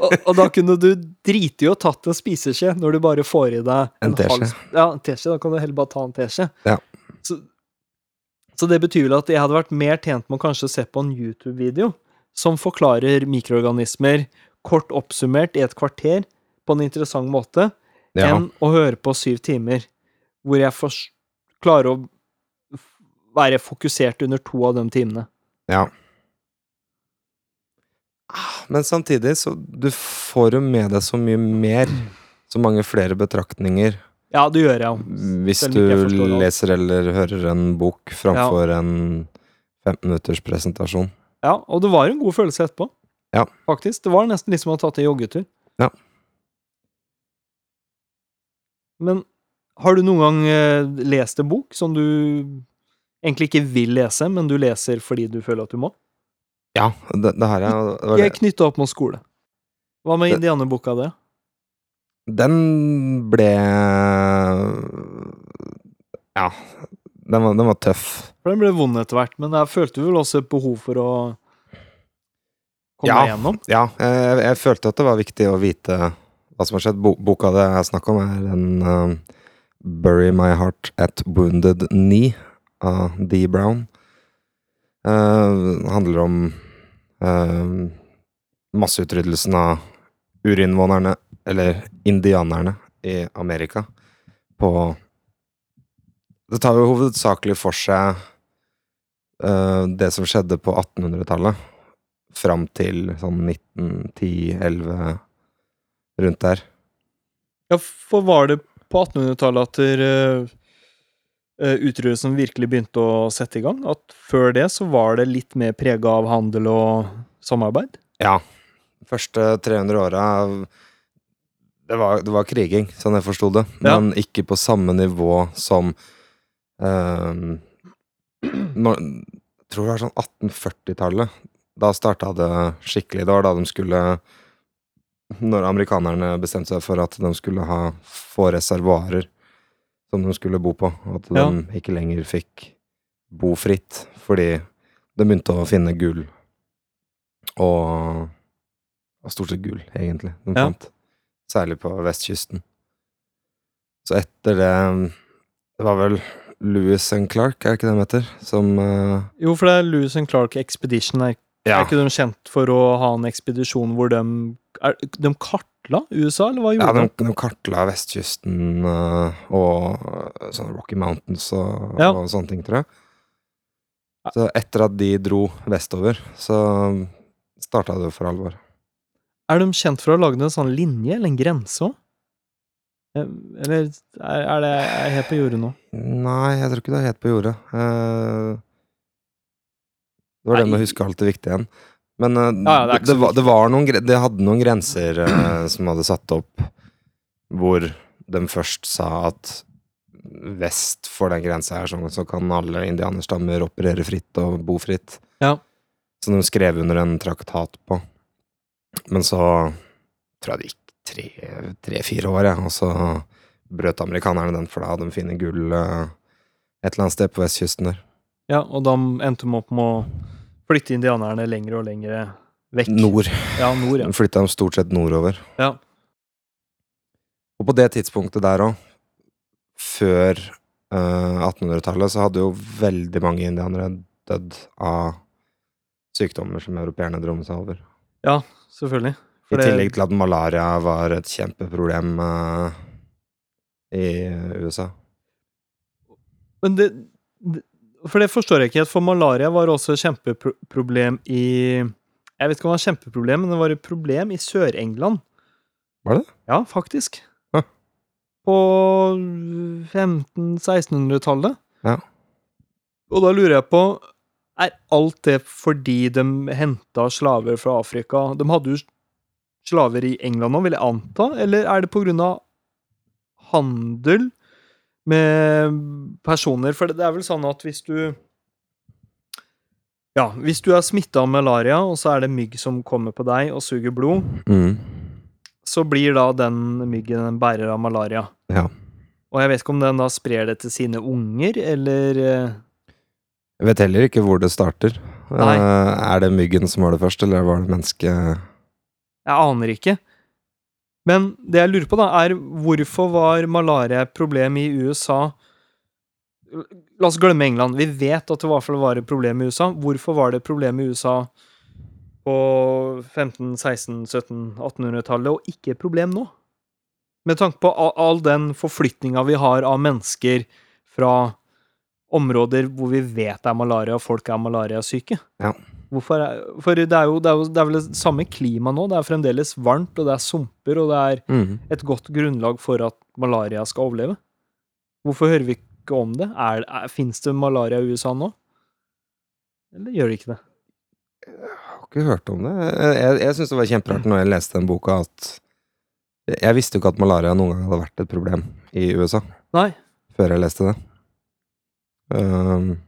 S2: Og, og da kunne du drite i å tatt en spiseskje når du bare får i deg
S1: En teskje.
S2: halv- Ja, en teskje. Da kan du heller bare ta en teskje.
S1: Ja.
S2: Så, så det betyr vel at jeg hadde vært mer tjent med å kanskje se på en YouTube-video som forklarer mikroorganismer kort oppsummert i et kvarter på en interessant måte,
S1: Ja.
S2: enn å høre på syv timer, hvor jeg fors- klarer å f- være fokusert under to av de timene.
S1: Ja. Men samtidig så Du får jo med deg så mye mer. Så mange flere betraktninger
S2: Ja, det gjør jeg jo.
S1: hvis
S2: Selv
S1: du
S2: om ikke jeg forstår alt.
S1: leser eller hører en bok framfor en 15 minutters presentasjon.
S2: Ja, og det var en god følelse etterpå.
S1: Ja.
S2: Faktisk. Det var nesten litt som å ha tatt en joggetur.
S1: Ja.
S2: Men har du noen gang eh, lest en bok som du egentlig ikke vil lese, men du leser fordi du føler at du må?
S1: Ja, det, det her er det var det.
S2: Jeg knytta opp mot skole. Hva med
S1: Det-
S2: indianerboka det?
S1: Den ble Ja. Den var, den var tøff.
S2: For den ble vond etter hvert, men jeg følte vel også et behov for å komme
S1: Ja.
S2: igjennom.
S1: Ja, jeg, jeg følte at det var viktig å vite hva som har skjedd. Bo, boka det er snakk om, er en eh, 'Bury My Heart at Wounded Knee' av D. Brown. Eh, Den handler om eh, masseutryddelsen av urinnvånerne, eller indianerne, i Amerika på Det tar jo hovedsakelig for seg eh, det som skjedde på 1800-tallet fram til sånn 1910-11, rundt der.
S2: Ja, for var det på 1800-tallet at der, eh, utryddelsen virkelig begynte å sette i gang? At før det så var det litt mer prega av handel og samarbeid?
S1: Ja. Første 300 åra det, var- det var kriging, sånn jeg forsto det.
S2: Ja.
S1: Men ikke på samme nivå som ehm, når, Jeg tror det var sånn 1840-tallet. Da starta det skikkelig. Det var da de skulle Når amerikanerne bestemte seg for at de skulle ha få reservoarer som de skulle bo på, og at de
S2: Ja.
S1: ikke lenger fikk bo fritt fordi de begynte å finne gull og og stort sett gull, egentlig, de
S2: Ja.
S1: fant. Særlig på vestkysten. Så etter det Det var vel Louis and Clark, er det ikke det de heter? Som eh,
S2: Jo, for det er Lewis and Clark Expedition. Er, er ikke de kjent for å ha en ekspedisjon hvor de er, De kartla USA, eller hva
S1: Ja,
S2: gjorde
S1: de,
S2: de?
S1: de kartla vestkysten eh, og eh, sånne Rocky Mountains og,
S2: Ja.
S1: og sånne ting, tror jeg. Så etter at de dro vestover, så starta det for alvor.
S2: Er de kjent for å ha lagd en sånn linje, eller en grense òg? Eller er, er det er jeg helt på jordet nå?
S1: Nei, jeg tror ikke det er helt på jordet. Eh, det var det med å
S2: Nei.
S1: huske alt det viktige igjen. Men eh,
S2: Ja, ja, det er
S1: det, det,
S2: ikke så
S1: var, det var noen gre- Det hadde noen grenser eh, som hadde satt opp, hvor de først sa at vest for den grensa her, sånn, så kan alle indianerstammer operere fritt og bo fritt.
S2: Ja.
S1: Som de skrev under en traktat på. Men så tror jeg det gikk tre- tre-fire år, jeg, og så brøt amerikanerne den, for da hadde de funnet gull eh, et eller annet sted på vestkysten der.
S2: Ja, og da endte de opp med å flytte indianerne lenger og lenger vekk.
S1: Nord.
S2: Ja, nord, ja.
S1: Flytta dem stort sett nordover.
S2: Ja.
S1: Og på det tidspunktet der òg, før eh, 1800-tallet, så hadde jo veldig mange indianere dødd av sykdommer som europeerne dro med seg over.
S2: Selvfølgelig.
S1: I
S2: For det-
S1: tillegg til at malaria var et kjempeproblem eh, i USA.
S2: Men det, det For det forstår jeg ikke helt, for malaria var også et kjempeproblem i Jeg vet ikke om det var et kjempeproblem, men det var et problem i Sør-England.
S1: Var det?
S2: Ja, faktisk.
S1: Hæ.
S2: På 1500-1600-tallet.
S1: Ja.
S2: Og da lurer jeg på Er alt det fordi de henta slaver fra Afrika? De hadde jo slaver i England òg, vil jeg anta, eller er det på grunn av handel? med personer. For det er vel sånn at hvis du Ja, hvis du er smitta av malaria, og så er det mygg som kommer på deg og suger blod,
S1: Mm.
S2: så blir da den myggen en bærer av malaria.
S1: Ja.
S2: Og jeg vet ikke om den da sprer det til sine unger, eller eh,
S1: Jeg vet heller ikke hvor det starter.
S2: Nei.
S1: Eh, er det myggen som var det først, eller var det mennesket
S2: Jeg aner ikke. Men det jeg lurer på, da, er hvorfor var malaria et problem i USA La oss glemme England. Vi vet at det i hvert fall var et problem i USA. Hvorfor var det et problem i USA på 15-, 16-, 17-, 1800-tallet, og ikke et problem nå? Med tanke på a- all den forflytninga vi har av mennesker fra områder hvor vi vet det er malaria, og folk er malariasyke. Hvorfor er, for det er, jo, det er jo det er vel det samme klima nå. Det er fremdeles varmt, og det er sumper, og det er
S1: Mhm.
S2: et godt grunnlag for at malaria skal overleve. Hvorfor hører vi ikke om det? Er, er, Fins det malaria i USA nå? Eller gjør det ikke det?
S1: Jeg har ikke hørt om det. Jeg, jeg, jeg syns det var kjemperart når jeg leste den boka, at Jeg visste jo ikke at malaria noen gang hadde vært et problem i USA.
S2: Nei.
S1: Før jeg leste det. Ehm,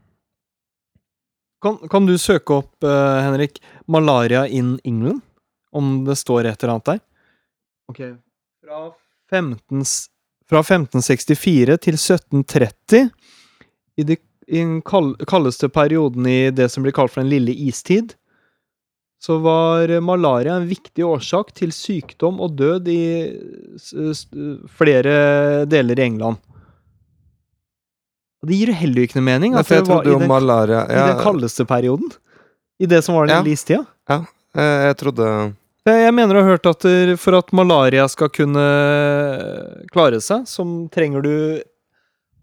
S2: Kan, kan du søke opp, eh, Henrik, 'malaria in England'? Om det står et eller annet der? Ok. Fra, 15, s- fra 1564 til 1730, i, de, i den kall, kaldeste perioden i det som blir kalt for den lille istid, så var eh, malaria en viktig årsak til sykdom og død i s, s, flere deler i England. Og Det gir jo heller ikke noe mening.
S1: Nei,
S2: at
S1: for jeg
S2: det var
S1: trodde
S2: i
S1: jo
S2: den-
S1: malaria
S2: i den
S1: ja,
S2: kaldeste perioden. I det som var den
S1: Ja.
S2: lille istida.
S1: eh, Jeg trodde
S2: Jeg jeg mener å ha hørt at der- for at malaria skal kunne klare seg, så trenger du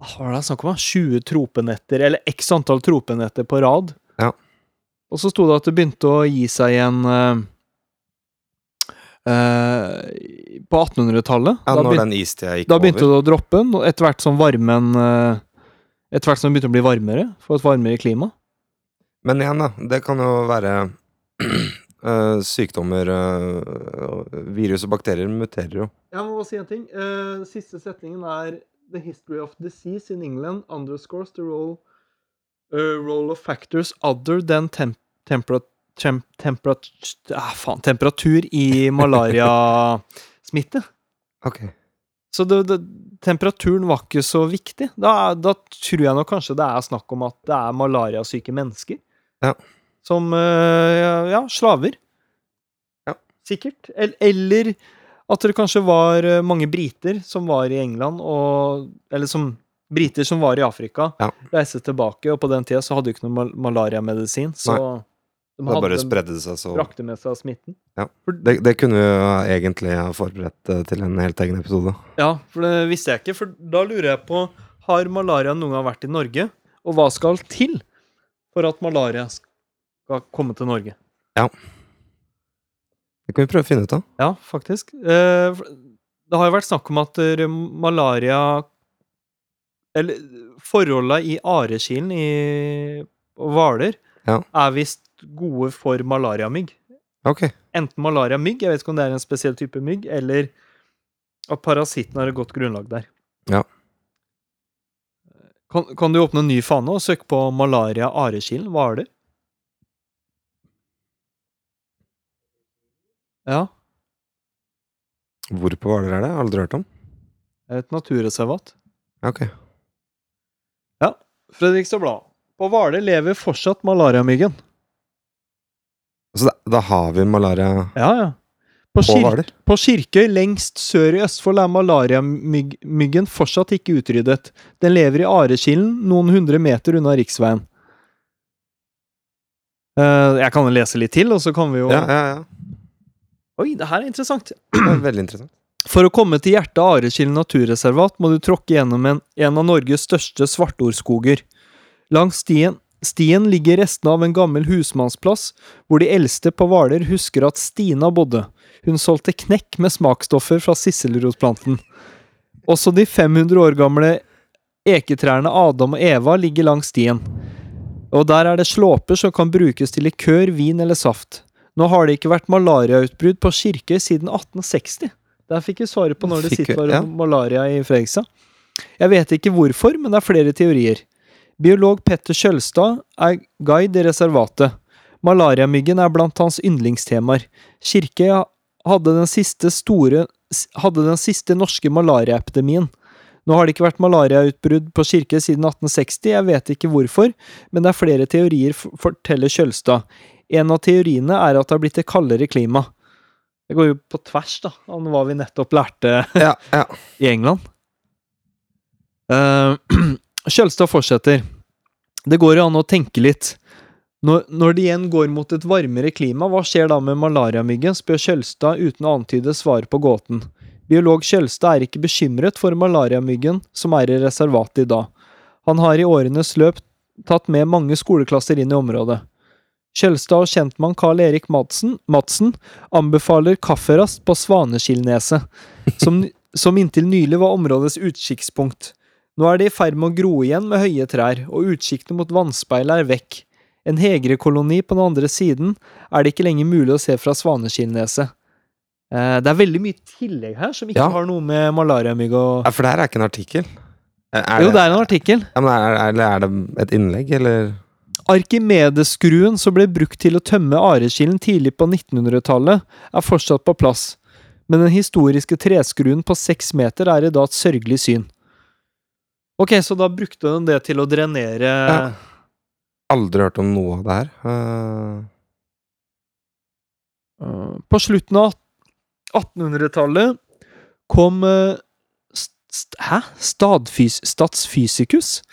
S2: ah, Hva var det jeg snakket om? da? 20 tropenetter, eller x antall tropenetter på rad.
S1: Ja.
S2: Og så sto det at det begynte å gi seg igjen eh, eh, på 1800-tallet.
S1: Ja,
S2: Da
S1: når
S2: begynte-
S1: den istida gikk
S2: da begynte
S1: over.
S2: det å droppe, og etter hvert som varmen eh, Etter hvert som det begynte å bli varmere, for et varmere klima.
S1: Men igjen, da. Det kan jo være eh, sykdommer eh, og Virus og bakterier muterer jo.
S2: Jeg må bare si en ting. Eh, siste setningen er The history of disease in England underscores the role, eh, role of factors other than temp tempera tem tempera ah, faen, temperatur i malariasmitte.
S1: Ok.
S2: Så det, det, temperaturen var ikke så viktig. Da, er- da tror jeg nok kanskje det er snakk om at det er malariasyke mennesker.
S1: Ja.
S2: Som eh, ja, slaver.
S1: Ja.
S2: Sikkert. El- Eller at det kanskje var eh, mange briter som var i England, og Eller som briter som var i Afrika,
S1: Ja.
S2: reiste tilbake, og på den tida så hadde de ikke noe mal malariamedisin, så de
S1: Da bare
S2: hadde de
S1: spredde det seg så
S2: brakte med seg smitten.
S1: det, det kunne vi jo egentlig ha forberedt eh, til en helt egen episode.
S2: Ja, for det visste jeg ikke. For da lurer jeg på Har malaria noen gang vært i Norge? Og hva skal til for at malaria skal komme til Norge?
S1: Det kan vi prøve å finne ut av.
S2: Ja, faktisk. Eh, for Det har jo vært snakk om at eh, malaria Eller forholda i arekilen i og Hvaler
S1: Ja.
S2: er visst gode for malariamygg.
S1: Ok.
S2: Enten malariamygg, jeg vet ikke om det er en spesiell type mygg, eller at parasitten har et godt grunnlag der.
S1: Ja.
S2: Kan, kan du åpne en ny fane og søke på malaria arekilen? Hva er det? Ja,
S1: Hvor på Hvaler er det? Aldri hørt om.
S2: et naturreservat.
S1: Ok.
S2: Fredrikstad Blad. På Hvaler lever fortsatt malariamyggen.
S1: Så Altså, da, da har vi malaria
S2: Ja, ja. På,
S1: på
S2: kir
S1: Hvaler?
S2: på Kirkøy lengst sør i Østfold er malariamyggen fortsatt ikke utryddet. Den lever i Arekilen, noen hundre meter unna riksveien. Eh, jeg kan lese litt til, og så kan vi jo
S1: Ja, ja, ja.
S2: Oi, det her er interessant.
S1: Det er veldig interessant.
S2: For å komme til hjertet av Arekilen naturreservat må du tråkke gjennom en, en av Norges største svartordskoger. Langs stien, stien ligger restene av en gammel husmannsplass, hvor de eldste på Hvaler husker at Stina bodde. Hun solgte knekk med smaksstoffer fra sisselrosplanten. Også de 500 år gamle eketrærne Adam og Eva ligger langs stien. Og der er det slåper som kan brukes til likør, vin eller saft. Nå har det ikke vært malariautbrudd på Kirkøy siden 1860. Der fikk vi svaret på når det
S1: Fikk vi-
S2: sitter var
S1: ja.
S2: malaria i Fredrikstad. Jeg vet ikke hvorfor, men det er flere teorier. Biolog Petter Kjølstad er guide i reservatet. Malariamyggen er blant hans yndlingstemaer. Kirkøy hadde den siste store hadde den siste norske malariaepidemien. Nå har det ikke vært malariautbrudd på Kirke siden 1860, jeg vet ikke hvorfor, men det er flere teorier, f- forteller Kjølstad. En av teoriene er at det har blitt et kaldere klima. Det går jo på tvers da, av hva vi nettopp lærte
S1: Ja, ja.
S2: i England. Eh, Kjølstad fortsetter. Det går jo an å tenke litt. Når, når det igjen går mot et varmere klima, hva skjer da med malariamyggen, spør Kjølstad uten å antyde svar på gåten. Biolog Kjølstad er ikke bekymret for malariamyggen som er i reservatet i dag. Han har i årenes løp tatt med mange skoleklasser inn i området. Kjølstad og kjentmann Carl Erik Madsen, Madsen anbefaler kafferast på Svaneskillneset, som som inntil nylig var områdets utkikkspunkt. Nå er det i ferd med å gro igjen med høye trær, og utsiktene mot vannspeilet er vekk. En hegrekoloni på den andre siden er det ikke lenger mulig å se fra Svaneskillneset. Eh, Det er veldig mye tillegg her som ikke
S1: Ja.
S2: har noe med malariamygg å
S1: Ja, For det her er ikke en artikkel? Er, er
S2: Jo, det er en artikkel.
S1: Ja, men er, er, er det et innlegg, eller?
S2: Arkimedeskruen som ble brukt til å tømme arekilden tidlig på 1900-tallet, er fortsatt på plass, men den historiske treskruen på seks meter er i dag et sørgelig syn. Ok, så da brukte den det til å drenere
S1: Ja. Aldri hørt om noe av det her. Eh,
S2: Eh, På slutten av 1800-tallet kom eh, st st- Hæ? Stadfys statsfysikus?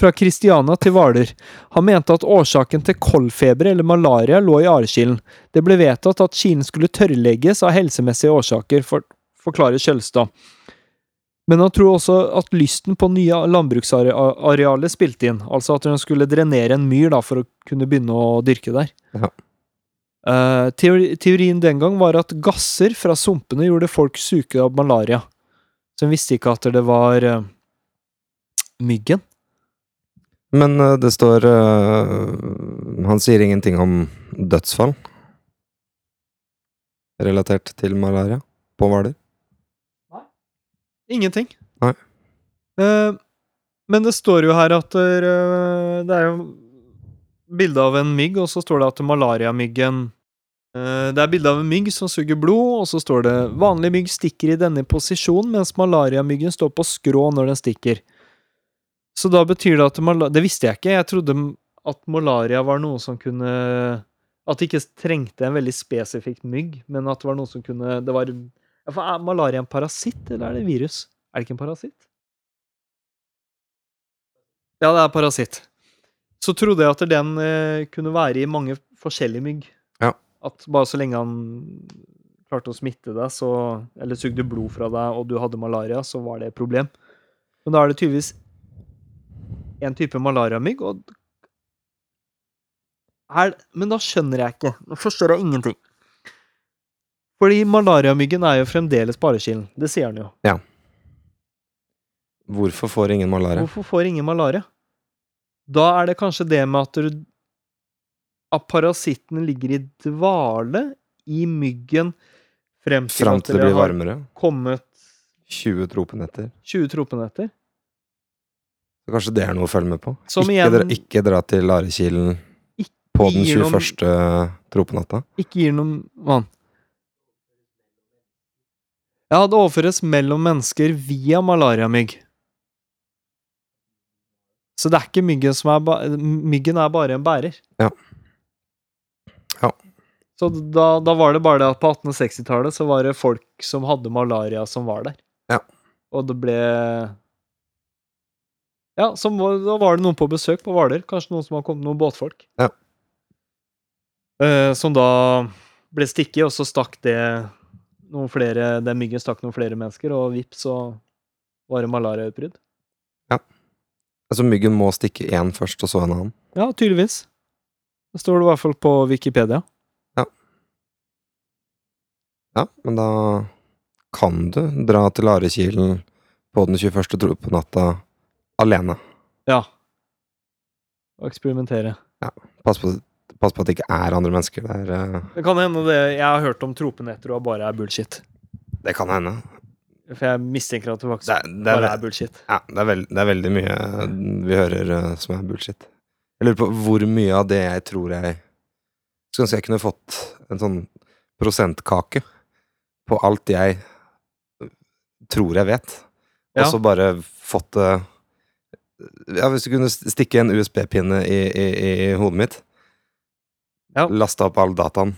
S2: Fra Kristiania til Hvaler. Han mente at årsaken til koldfeber eller malaria lå i arekilden. Det ble vedtatt at kilen skulle tørrlegges av helsemessige årsaker, for forklarer Kjølstad. Men han tror også at lysten på nye landbruksarealer spilte inn. Altså at hun skulle drenere en myr da, for å kunne begynne å dyrke der. Eh, teori, teorien den gang var at gasser fra sumpene gjorde folk syke av malaria. Så en visste ikke at det var eh, myggen.
S1: men eh, det står eh, Han sier ingenting om dødsfall relatert til malaria på Hvaler.
S2: Ingenting.
S1: Nei.
S2: Eh, men det står jo her at eh, det er jo bilde av en mygg, og så står det at malariamyggen eh, Det er bilde av en mygg som suger blod, og så står det vanlig mygg stikker i denne posisjonen, mens malariamyggen står på skrå når den stikker. Så da betyr det at malaria Det visste jeg ikke. Jeg trodde m- at malaria var noe som kunne At det ikke trengte en veldig spesifikk mygg, men at det var noe som kunne Det var ja, for er malaria en parasitt, eller er det virus? Er det ikke en parasitt? Ja, det er parasitt. Så trodde jeg at den eh, kunne være i mange forskjellige mygg.
S1: Ja.
S2: At bare så lenge han klarte å smitte deg, så, eller sugde blod fra deg, og du hadde malaria, så var det et problem. Men da er det tydeligvis en type malariamygg, og er, Men da skjønner jeg ikke. Nå forstår jeg ingenting. Fordi malariamyggen er jo fremdeles på arekilden. Det sier han jo.
S1: Hvorfor får ingen malaria?
S2: Hvorfor får ingen malaria? Da er det kanskje det med at, du, at parasitten ligger i dvale i myggen frem til,
S1: Fram til det blir
S2: har
S1: varmere.
S2: kommet
S1: 20 tropenetter.
S2: 20 tropenetter.
S1: Så Kanskje det er noe å følge med på?
S2: Som
S1: ikke,
S2: igjen-
S1: dra, ikke dra til Arekilen på den
S2: gir noen-
S1: 21. tropenatta.
S2: Ikke gir noen vann. Ja, det overføres mellom mennesker via malariamygg. Så det er ikke myggen som er ba Myggen er bare en bærer.
S1: Ja. Ja.
S2: Så da, da var det bare det at på 1860-tallet så var det folk som hadde malaria, som var der.
S1: Ja.
S2: Og det ble Ja, som, var- da var det noen på besøk på Hvaler. Kanskje noen som har kommet, noen båtfolk.
S1: Ja.
S2: Eh, som da ble stikket, og så stakk det noen flere Den myggen stakk noen flere mennesker, og vips, så var det malariautbrudd.
S1: Altså, myggen må stikke én først, og så en annen.
S2: Ja, tydeligvis. Det står det i hvert fall på Wikipedia.
S1: Ja, men da kan du dra til Arekilen på den 21. tropenatta alene.
S2: Ja. Å eksperimentere.
S1: Pass på, pass på at det ikke er andre mennesker der. eh.
S2: Det kan hende det jeg har hørt om tropenetter og bare er bullshit.
S1: Det kan hende.
S2: For jeg mistenker at det
S1: Det
S2: faktisk
S1: er, det er,
S2: bare er bullshit.
S1: ja, det er, veld, det er veldig mye eh, vi hører eh, som er bullshit. Jeg lurer på hvor mye av det jeg tror jeg Skulle ønske jeg kunne fått en sånn prosentkake på alt jeg tror jeg vet.
S2: Ja.
S1: og så bare fått det Ja, hvis du kunne st- stikke en USB-pinne i, i, i, i hodet mitt,
S2: Ja.
S1: lasta opp all dataen,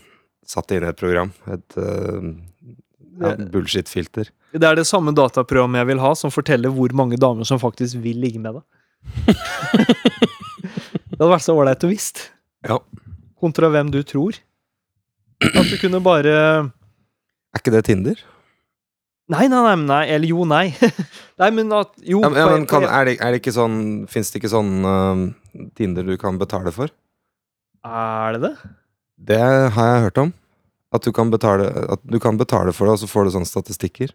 S1: satt det inn i et program, et eh, ja,
S2: Det-
S1: bullshit-filter
S2: Det er det samme dataprogrammet jeg vil ha, som forteller hvor mange damer som faktisk vil ligge med deg. det hadde vært så ålreit å visst.
S1: Ja.
S2: Kontra hvem du tror. At du kunne bare
S1: Er ikke det Tinder?
S2: Nei, nei, nei, men nei. eller jo, nei. nei, men at Jo.
S1: Ja, men, ja,
S2: på-
S1: men kan,
S2: på-
S1: er det, er det ikke sånn Fins det ikke sånn eh, Tinder du kan betale for?
S2: er det det?
S1: Det har jeg hørt om. At du kan betale, at du kan betale for det, og så får du sånne statistikker.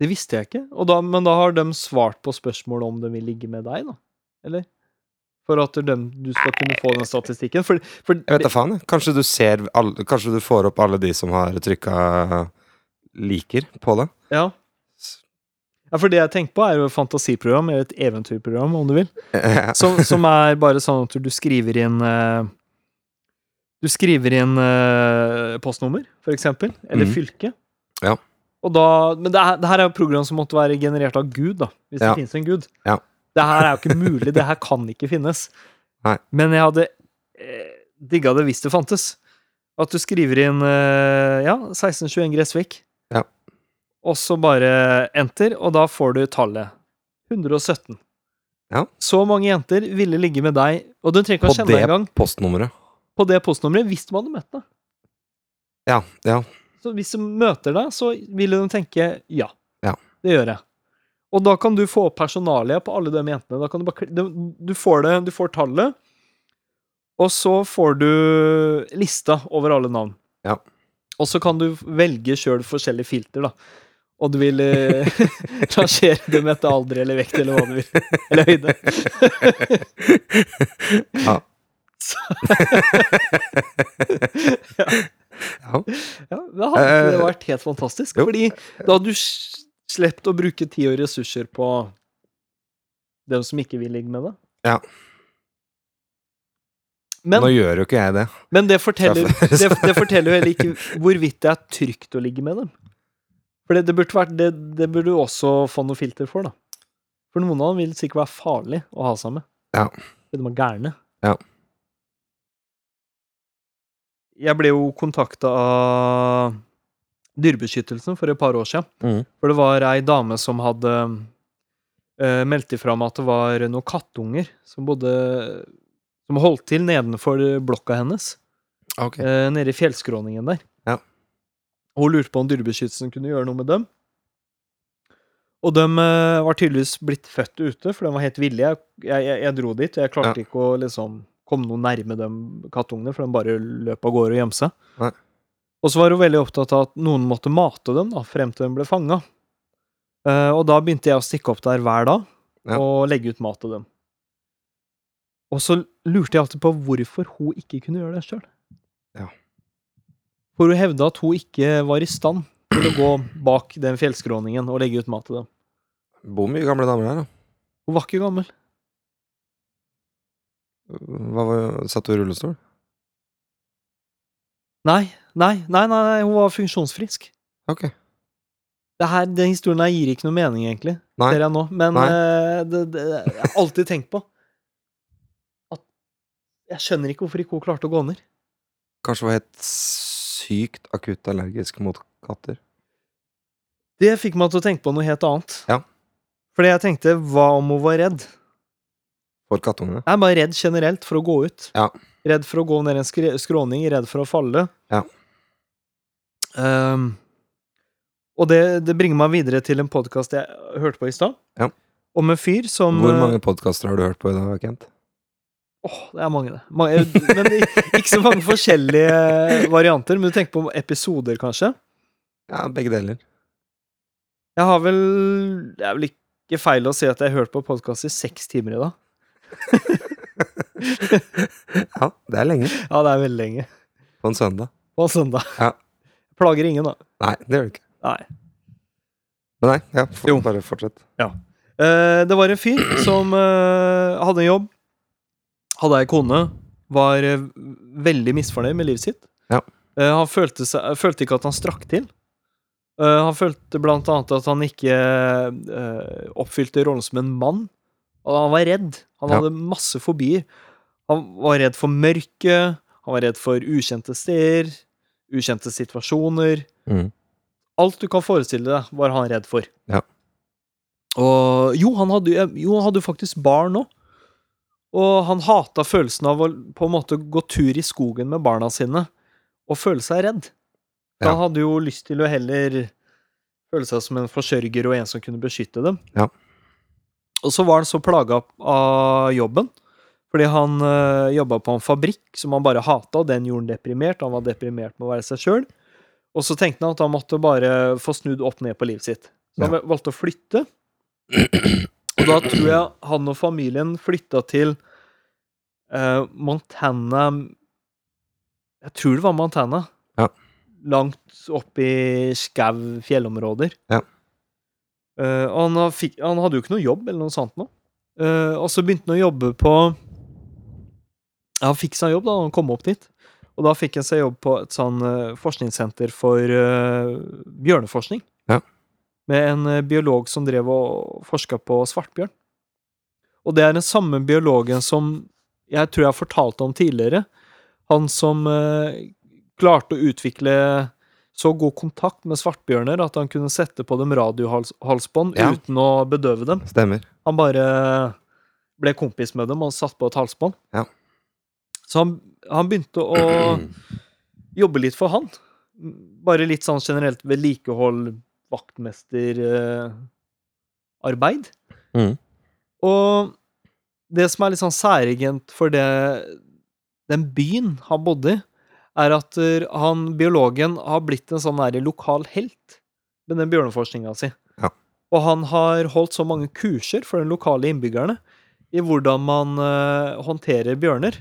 S2: Det visste jeg ikke. Og da, men da har de svart på spørsmålet om de vil ligge med deg, da? Eller? For at dem- du skal kunne få den statistikken? For, for
S1: Jeg vet da faen, jeg. Kanskje du ser alle, Kanskje du får opp alle de som har trykka liker på det.
S2: ja.
S1: S-
S2: ja, for det jeg tenker på, er jo et fantasiprogram, eller et eventyrprogram, om du vil.
S1: Ja.
S2: Som, som er bare sånn at du skriver inn eh, Du skriver inn eh, postnummer, for eksempel, eller
S1: Mhm.
S2: fylke.
S1: Ja.
S2: Og da, men det, her- det her er jo program som måtte være generert av Gud, da, hvis
S1: Ja.
S2: det finnes en Gud.
S1: Ja.
S2: Det her er jo ikke mulig. Det her kan ikke finnes.
S1: Nei.
S2: Men jeg hadde eh, digga det hvis det fantes. At du skriver inn eh, ja, 1621 Gressvik,
S1: Ja.
S2: og så bare enter, og da får du tallet 117.
S1: Ja.
S2: Så mange jenter ville ligge med deg, og du trenger ikke
S1: På
S2: å kjenne
S1: det
S2: deg engang,
S1: postnummeret.
S2: på det postnummeret hvis de hadde møtt deg.
S1: Ja, ja.
S2: Så hvis de møter deg, så ville de tenke ja,
S1: Ja.
S2: det gjør jeg. Og da kan du få opp personalia på alle de jentene. Da kan du, bare, kli- du- du får det, du får tallet, og så får du lista over alle navn.
S1: Ja.
S2: Og så kan du velge sjøl forskjellige filter, da. Og du vil eh, rangere dem etter alder eller vekt eller hva du vil. Eller høyde.
S1: ja.
S2: Ja, det hadde
S1: Eh,
S2: det vært helt fantastisk.
S1: jo.
S2: Fordi da hadde du s- sluppet å bruke tid og ressurser på dem som ikke vil ligge med deg.
S1: Ja.
S2: Men,
S1: Nå gjør jo ikke jeg det.
S2: men det, forteller,
S1: Derfor-
S2: det, det forteller jo heller ikke hvorvidt det er trygt å ligge med dem. For det, det burde vært det, det burde du også få noe filter for, da. For noen av dem vil sikkert være farlig å ha seg med.
S1: Ja.
S2: Fordi de er gærne.
S1: Ja.
S2: Jeg ble jo kontakta av Dyrebeskyttelsen for et par år siden.
S1: Mhm.
S2: For det var ei dame som hadde eh, meldt ifra om at det var noen kattunger som bodde Som holdt til nedenfor blokka hennes,
S1: Ok.
S2: eh, nede i fjellskråningen der.
S1: Ja.
S2: Og hun lurte på om Dyrebeskyttelsen kunne gjøre noe med dem. Og de eh, var tydeligvis blitt født ute, for de var helt ville. Jeg, jeg, jeg, jeg dro dit, og jeg klarte ikke å liksom komme noe nærme de kattungene, for de bare løp av gårde og gjemte seg.
S1: Nei.
S2: Og så var hun veldig opptatt av at noen måtte mate dem da, frem til de ble fanga. og da begynte jeg å stikke opp der hver dag
S1: Ja.
S2: og legge ut mat til dem. Og så lurte jeg alltid på hvorfor hun ikke kunne gjøre det sjøl.
S1: Ja.
S2: For hun hevda at hun ikke var i stand til å gå bak den fjellskråningen og legge ut mat til dem.
S1: Bor mye gamle damer her, da.
S2: Hun var ikke gammel.
S1: Hva var, satt du i rullestol?
S2: Nei, nei, nei, nei, nei hun var funksjonsfrisk.
S1: Ok.
S2: Det her, den historien her gir ikke noe mening, egentlig.
S1: Nei.
S2: Ser jeg nå. Men
S1: Nei.
S2: eh, det, det jeg har alltid tenkt på at Jeg skjønner ikke hvorfor ikke hun klarte å gå ned.
S1: Kanskje var helt sykt akutt allergisk mot katter.
S2: Det fikk meg til å tenke på noe helt annet.
S1: Ja.
S2: Fordi jeg tenkte, hva om hun var redd?
S1: For kattungene.
S2: Jeg er bare redd generelt for å gå ut.
S1: Ja.
S2: Redd for å gå ned en skre- skråning, redd for å falle.
S1: Ja.
S2: Ehm, og det, det bringer meg videre til en podkast jeg hørte på i stad,
S1: Ja.
S2: om en fyr som eh,
S1: Hvor mange podkaster har du hørt på i dag, Kent?
S2: Åh, det er mange, det. Mange, men det- ikke så mange forskjellige varianter. Men du tenker på episoder, kanskje?
S1: Ja, begge deler.
S2: Jeg har vel Det er vel ikke feil å si at jeg har hørt på podkast i seks timer i dag.
S1: Ja, det er lenge.
S2: Ja, det er veldig lenge.
S1: På en søndag.
S2: På en søndag.
S1: Ja.
S2: Plager ingen, da.
S1: Nei, det gjør det ikke.
S2: Nei.
S1: Men nei, ja, for,
S2: Jo.
S1: bare fortsett.
S2: Eh, det var en fyr som eh, hadde en jobb, hadde ei kone, var eh, veldig misfornøyd med livet sitt.
S1: Ja.
S2: Eh, han følte, seg, følte ikke at han strakk til. Eh, han følte blant annet at han ikke eh, oppfylte rollen som en mann. Og han var redd. Han
S1: Ja.
S2: hadde masse fobier. Han var redd for mørke, han var redd for ukjente steder, ukjente situasjoner.
S1: Mm.
S2: Alt du kan forestille deg, var han redd for.
S1: Ja.
S2: Og jo, han hadde jo- jo han hadde jo faktisk barn òg. Og han hata følelsen av å på en måte gå tur i skogen med barna sine og føle seg redd. For
S1: Ja.
S2: Han hadde jo lyst til å heller føle seg som en forsørger og en som kunne beskytte dem.
S1: Ja.
S2: Og så var han så plaga av jobben, fordi han øh, jobba på en fabrikk som han bare hata, og den gjorde han deprimert. Han var deprimert med å være seg sjøl. Og så tenkte han at han måtte bare få snudd opp ned på livet sitt. Så han valgte å flytte. Og da tror jeg han og familien flytta til eh, Montana Jeg tror det var Montana.
S1: Ja.
S2: Langt opp i skau fjellområder.
S1: Ja.
S2: Eh, og han, har fikk, han hadde jo ikke noe jobb eller noe sånt nå. Eh, og så begynte han å jobbe på ja, Han fikk seg jobb da han kom opp dit. Og da fikk han seg jobb på et sånn eh, forskningssenter for eh, bjørneforskning.
S1: Ja.
S2: Med en eh, biolog som drev og forska på svartbjørn. Og det er den samme biologen som jeg tror jeg fortalte om tidligere. Han som eh, klarte å utvikle så god kontakt med svartbjørner at han kunne sette på dem radiohalsbånd
S1: Ja.
S2: uten å bedøve dem.
S1: Stemmer.
S2: Han bare ble kompis med dem og satt på et halsbånd.
S1: Ja.
S2: Så han, han begynte å jobbe litt for han. Bare litt sånn generelt vedlikehold, vaktmesterarbeid. arbeid
S1: Mhm.
S2: Og det som er litt sånn særegent for det, den byen han bodde i, er at eh, han, biologen har blitt en sånn der lokal helt med den bjørneforskninga si.
S1: Ja.
S2: Og han har holdt så mange kurser for de lokale innbyggerne i hvordan man eh, håndterer bjørner,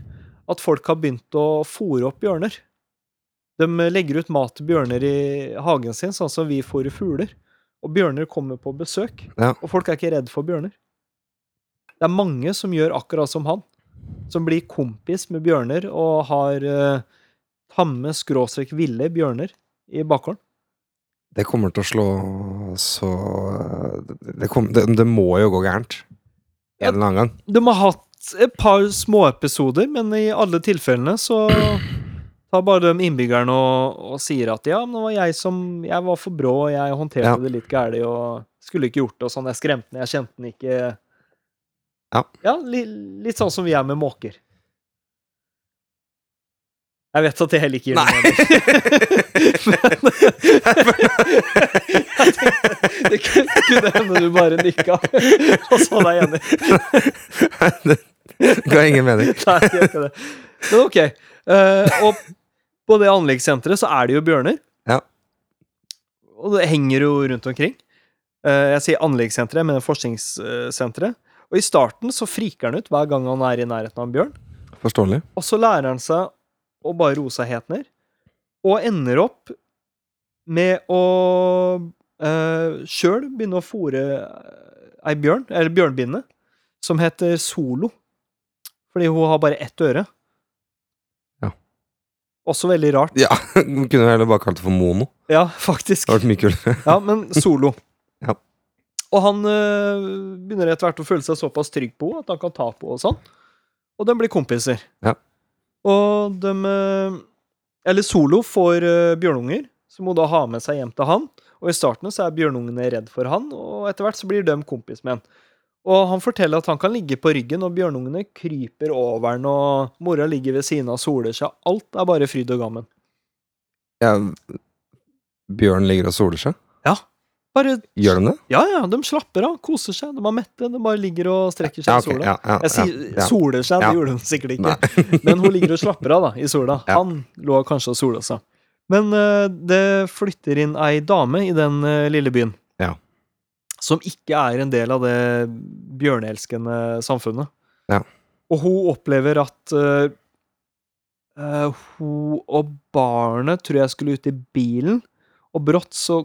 S2: at folk har begynt å fòre opp bjørner. De legger ut mat til bjørner i hagen sin, sånn som vi fôrer fugler. Og bjørner kommer på besøk.
S1: Ja.
S2: Og folk er ikke redd for bjørner. Det er mange som gjør akkurat som han. Som blir kompis med bjørner og har eh, tamme, skråstrek ville bjørner i bakhånd.
S1: Det kommer til å slå så eh, Det, kom, det, det må jo gå gærent. En eller annen gang.
S2: De har hatt et par småepisoder, men i alle tilfellene så tar bare de innbyggerne og, og sier at ja, men det var jeg som Jeg var for brå, og jeg håndterte
S1: Ja.
S2: det litt gærent og skulle ikke gjort det og sånn. Jeg skremte den, jeg kjente den ikke
S1: Ja.
S2: li, litt sånn som vi er med måker. Jeg vet at det heller ikke gir noe mening. Jeg tenkte, det kunne kunne hende du bare nikka og sa deg enig.
S1: det ga ingen mening.
S2: Nei, det gjør ikke det. Men ok. eh, og på det anleggssenteret så er det jo bjørner.
S1: Ja.
S2: Og det henger jo rundt omkring. Eh, jeg sier anleggssenteret, men forskningssenteret. Og i starten så friker han ut hver gang han er i nærheten av en bjørn.
S1: Forståelig.
S2: Og så lærer han seg å bare roe seg helt ned, og ender opp med å uh, sjøl begynne å fòre eh, ei bjørn, eller bjørnbinne, som heter Solo. Fordi hun har bare ett øre.
S1: Ja.
S2: Også veldig rart.
S1: Ja, Kunne jo heller bare kalt det for mono.
S2: Ja, faktisk.
S1: Det hadde vært mye kulere.
S2: Ja, men solo.
S1: Ja.
S2: Og han øh, begynner etter hvert å føle seg såpass trygg på henne at han kan ta på henne og sånn. Og de blir kompiser.
S1: Ja.
S2: Og de øh, Eller Solo får øh, bjørnunger, som hun da har med seg hjem til han. Og i starten så er bjørnungene redd for han, og etter hvert så blir de kompis med han. Og han forteller at han kan ligge på ryggen, og bjørnungene kryper over han, og mora ligger ved siden av og soler seg. Alt er bare fryd og gammen.
S1: Ja, bjørn ligger og soler seg.
S2: Bare
S1: Gjør de det?
S2: Ja, ja, de slapper av, koser seg. De er mette, de bare ligger og strekker seg
S1: Ja, ok,
S2: i sola.
S1: ja, ja,
S2: Jeg sier
S1: ja, ja.
S2: soler seg, det
S1: Ja.
S2: gjorde hun sikkert ikke. Men hun ligger og slapper av da, i sola.
S1: Ja.
S2: Han lå kanskje og sola seg. Men eh, det flytter inn ei dame i den eh, lille byen.
S1: Ja.
S2: Som ikke er en del av det bjørneelskende samfunnet.
S1: Ja.
S2: Og hun opplever at eh, eh, hun og barnet tror jeg skulle ut i bilen, og brått så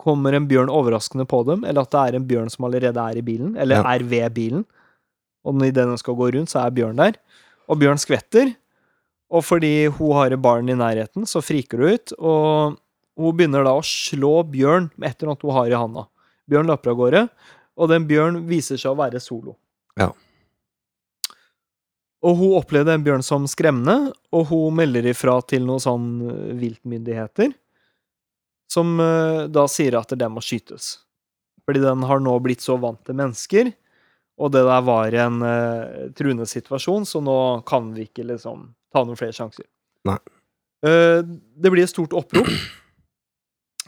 S2: kommer en bjørn overraskende på dem, eller at det er en bjørn som allerede er i bilen, eller
S1: Ja.
S2: er ved bilen. Og når- idet den skal gå rundt, så er bjørn der. Og bjørn skvetter. Og fordi hun har et barn i nærheten, så friker hun ut og Hun begynner da å slå bjørn med et eller annet hun har i handa. Bjørn løper av gårde, og den bjørn viser seg å være solo.
S1: Ja.
S2: Og hun opplevde en bjørn som skremmende, og hun melder ifra til noen sånn eh, viltmyndigheter, som eh, da sier at den må skytes. Fordi den har nå blitt så vant til mennesker, og det der var en eh, truende situasjon, så nå kan vi ikke liksom ta noen flere sjanser.
S1: Nei.
S2: Eh, det blir et stort opprop,